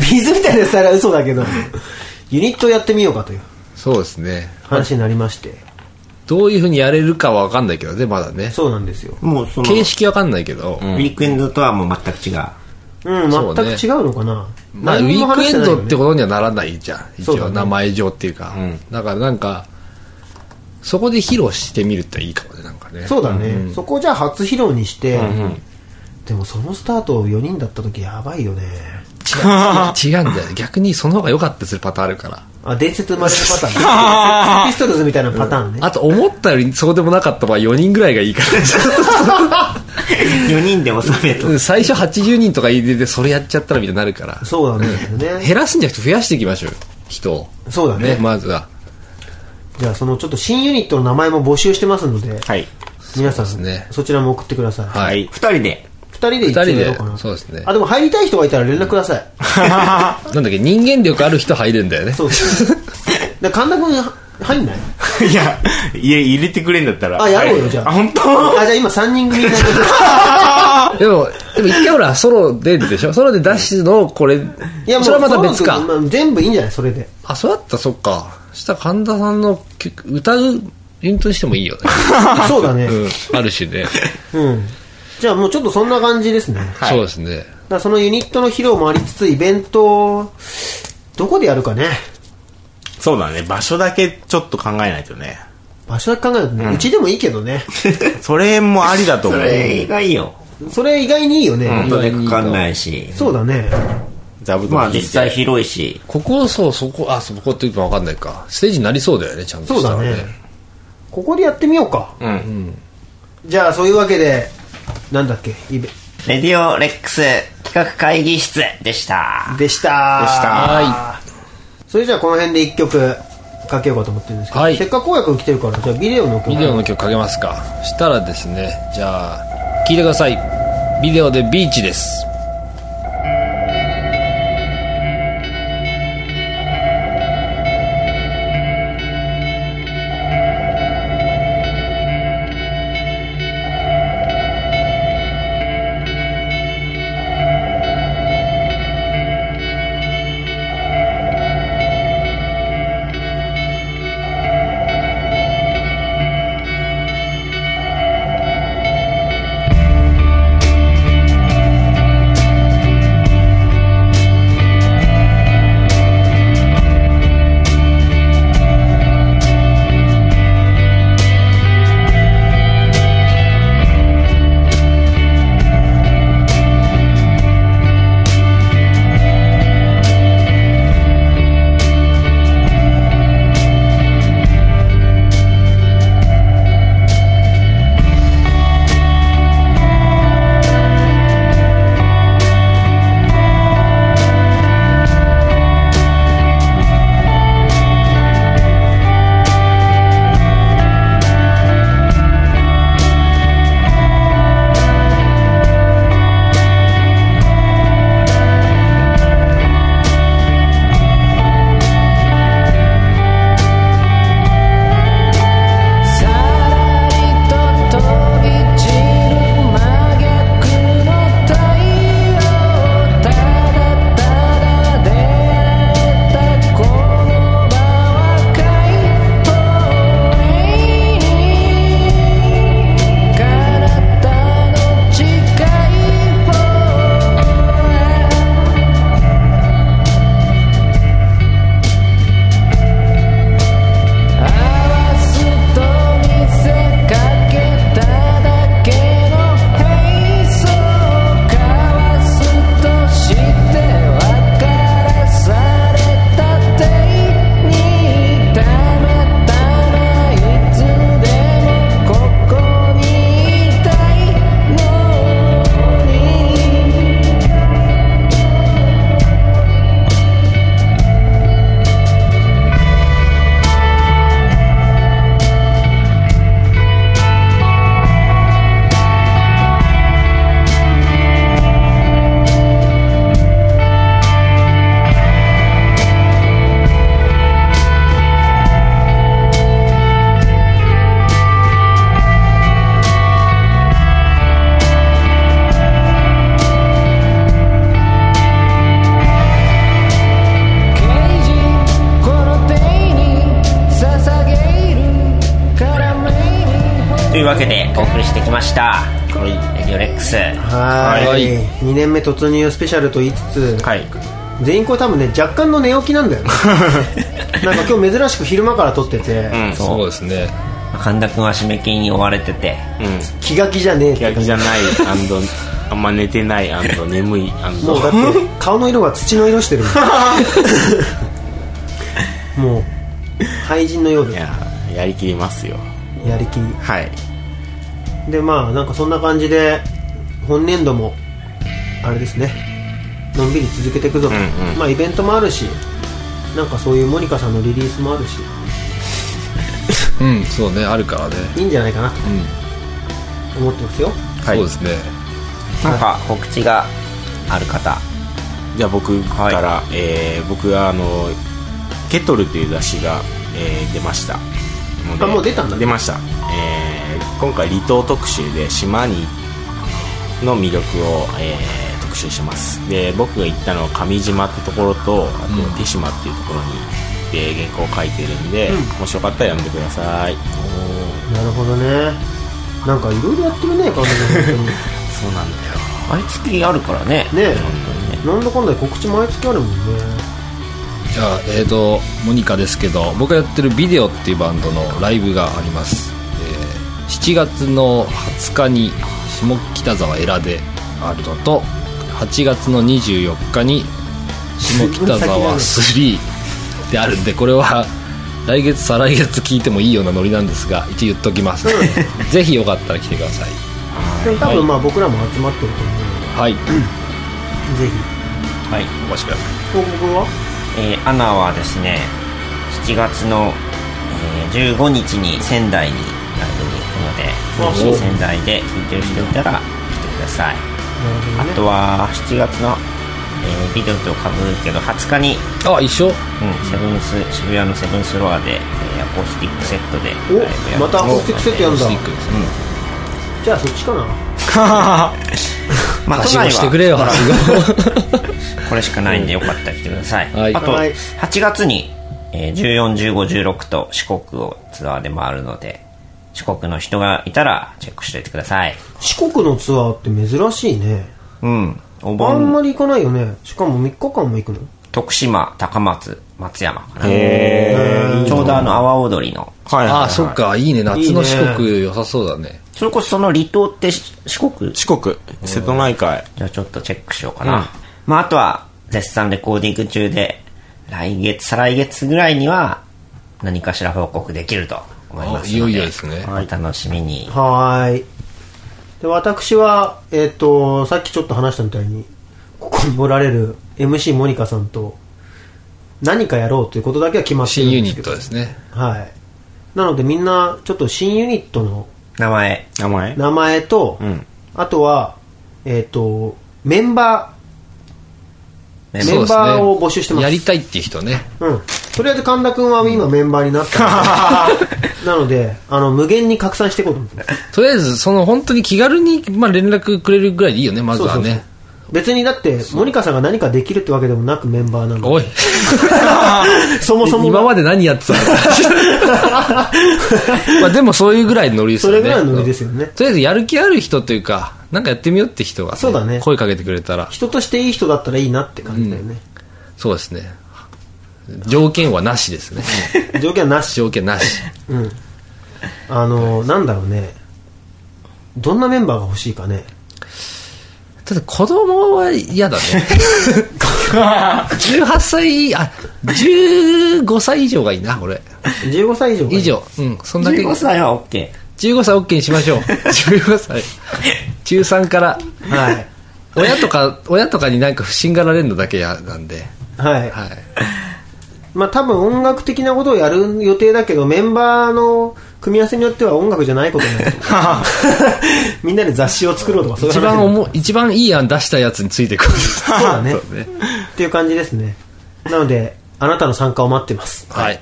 ビーズみたいなスタイルは嘘だけどユニットをやってみようかという
そうですね
話になりまして
どういうふうにやれるかは分かんないけどねまだね
そうなんですよ
もうその
形式分かんないけど、
ウィークエンドとはもう全く違う
うん、
そう
全く
ね
違うのかな。
まあ、ウ
何
ィ
にも
ーク
話
エ
して
ン
ないよ
ド
ね
ってことにはならないじゃん一
そうだ
応
ね
名前上っていうかだからなんかそこで披露してみるっていいかもねなんかね
そうだね、そこをじゃあ初披露にして、でもそのスタート4人だった時やばいよね。
違うんだよ逆にその方が良かったりするパターンあるから
あ、伝説生まれるパター ン。ピストルズみたいなパターンね。
あと思ったよりそうでもなかった場合4人ぐらいがいいから
4人で収めと
うん最初80人とか入れてそれやっちゃったらみたいになるから
そうなんだよね。
減らすんじゃなくて増やしていきましょうよ人を
そうだね
ねまずは
じゃあそのちょっと新ユニットの名前も募集してますので、
はい
皆さん
そうですね
そちらも送ってください。
はい
い
2人で
二人で
二
一応
人
やろう
で
かな。
そうですね
あ、でも入りたい人がいたら連絡くださ い。
なんだっけ人間力ある人入るんだよね
そうです。で神田君は入んない
いや、いや、入れてくれんだったら。
あ、やろう
は
よ、
い
じゃあ。
あ、本当
あ、じゃあ今3人組にな りまし
でもでも一回ほらソロででしょソロで出しのこれ
いや、もう、
それはまた別か
そろそろまあ全部いいんじゃないそれ で。
あそうだったそっかしたら神田さんの曲歌うユニットにしてもいいよね、
そうだね。
うん、あるしね、
うん。じゃあもうちょっとそんな感じですね。
そうですね
だからそのユニットの披露もありつつ、イベント、どこでやるかね。
そうだね。場所だけちょっと考えないとね。
場所だけ考えるとね、うちでもいいけどね。
それもありだと思う。
れがいいよ
それ意外にいいよね。
人でかかんないし
そうだね。
座布団
まあ
引い
実
て
際広いし
ここそうそこあそこっていうか分かんないかステージになりそうだよねちゃんと
そう
した
だ
ら
ね。ここでやってみようか。
うん。
じゃあ、そういうわけで、なんだっけ、イベ、
レディオレックス企画会議室でした
でした
でした
それじゃあこの辺で一曲かけようかと思ってるんですけど、
はい
せっかく公約来てるから、じゃあビデオの曲。
ビデオの曲かけますかしたらですねじゃあ聞いてくださいビデオでビーチです
さらりと飛び散る真逆の太陽ただただ出会えたこの場は解放へに体の近い方へ合わすと見せかけただけのへいそ交わすとして分からされた手にたまたまいつでもここにいたいのに刑事この手に捧げるからめに
というわけでお送りしてきました、レディオレックス
はい
はい
2年目突入スペシャルと言いつつ、
はい。
全員これ多分ね、若干の寝起きなんだ よね。なんか今日珍しく昼間から撮ってて、
うん。
そう
そうですね
神田君は締め切りに追われてて
うん。
気が気じゃねえっ
気が
て
気
感じ
じ。ゃないあんま寝てない眠い
もうだって、顔の色が土の色してるも んもう、廃人のよう
い
で、
や、やりきりますよ。
やりきり。
はい。
でまあなんかそんな感じで本年度もあれですねのんびり続けていくぞと、
うんうん
まあイベントもあるしなんかそういうモニカさんのリリースもあるし
うんそうねあるからね、
いいんじゃないかな
うん
と思ってますよ
そうですね
なんか告知がある方
じゃあ僕から、えー僕はあの「ケトル」という雑誌が、えー出ましたので
あもう出たんだ
出ました、えー今回離島特集で島にの魅力を、えー特集しますで僕が行ったのは上島ってところとあと手島っていうところに行って原稿を書いてるんで、もしよかったら読んでください
なるほどねなんかいろいろやってるね彼女本
そうなんだよ
毎月あるからね
当にね
本当にね
えなんだかんだで告知毎月あるもんね
じゃあえー、とモニカですけど僕がやってるビデオっていうバンドのライブがあります、えー7月の20日に下北沢エラであるのと8月の24日に下北沢3であるんでこれは来月再来月聞いてもいいようなノリなんですが一応言っときます、ぜひよかったら来てください
でも多分まあ僕らも集まってると思う
はい
のでぜひ
はい
お待ちください
報告は
えーアナはですね7月の、えー15日に仙台にライブに行くのでもし仙台で聴いてる人いたら来てくださいあとは7月の、えービデオとかぶるけど20日に、
あ一緒
うん、セブンス渋谷のセブンスロアで、えーアコースティックセットでライブやる
おまたアコースティックセットやるんだ
スティックですね
じゃあそっちかな
まあ、
は
都
しご
内
してくれよ
は
はし
これしかないんでよかったら来てください、
はい
あと
はい
8月に、えー、141516と四国をツアーで回るので四国の人がいたらチェックしておいてください
四国のツアーって珍しいね
うんお
あん
盆
まり行かないよねしかも3日間も行くの
徳島高松松山かなちょうどあの阿波踊りの
はい
ああそっかいいね夏の四国良さそうだね
それこそその離島ってし四国
四国瀬戸内海
じゃあちょっとチェックしようかな。まああとは絶賛レコーディング中で、来月、再来月ぐらいには何かしら報告できると思いますので。
あいよいよですね
お楽しみに。
はーいで私はえっ、とさっきちょっと話したみたいにここにおられる MC モニカさんと何かやろうということだけは決まってる
新
ん
ユ
で
ニ
すけ
ッ
ど
トですね
はいなのでみんなちょっと新ユニットの
名前。
名前
名前と、
ん
あとはえっ、とメンバ
メ
ンバーを募集してます
やりたいっていう人ね
ーうんとりあえず神田君は今メンバーにな ったのでなのであの無限に拡散していこうと思ってます
とりあえずその本当に気軽に、まあ、連絡くれるぐらいでいいよねまずはね
そうそう別にだってモニカさんが何かできるってわけでもなくメンバーなの
おい
でそもそも
今
が
まで何 やってたのまあでもそういうぐらいのノリですよね
それぐらいのノリですよね
とりあえずやる気ある人というかなんかやってみようって人がね、
そうだね
声かけてくれたら
人としていい人だったらいいなって感じだよね、
そうですね条件はなしですね
条件はなし
条件なし
あのなんだろうねどんなメンバーが欲しいか ね
ただ子供は 嫌だね18歳あ15歳以上がいいな俺
15歳以上がいい
以上うんそんだけ
15歳は OK。
15歳 OK にしま しょう15歳中3から
はい
親とか親とかになんか不審がられるのだけやなんで
はい、
はい
まあ多分音楽的なことをやる予定だけどメンバーの組み合わせによっては音楽じゃないことになる みんなで雑誌を作ろうとかそういう
一
話
番おも一番いい案出したやつについてくる
そうだねっていう感じですねなのであなたの参加を待ってます
はい
っ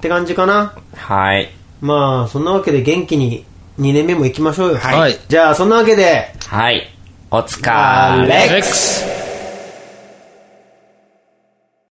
て感じかな
はい。
まあそんなわけで元気に2年目も行きましょうよ
はい
じゃあそんなわけで
はい。お疲れ。
X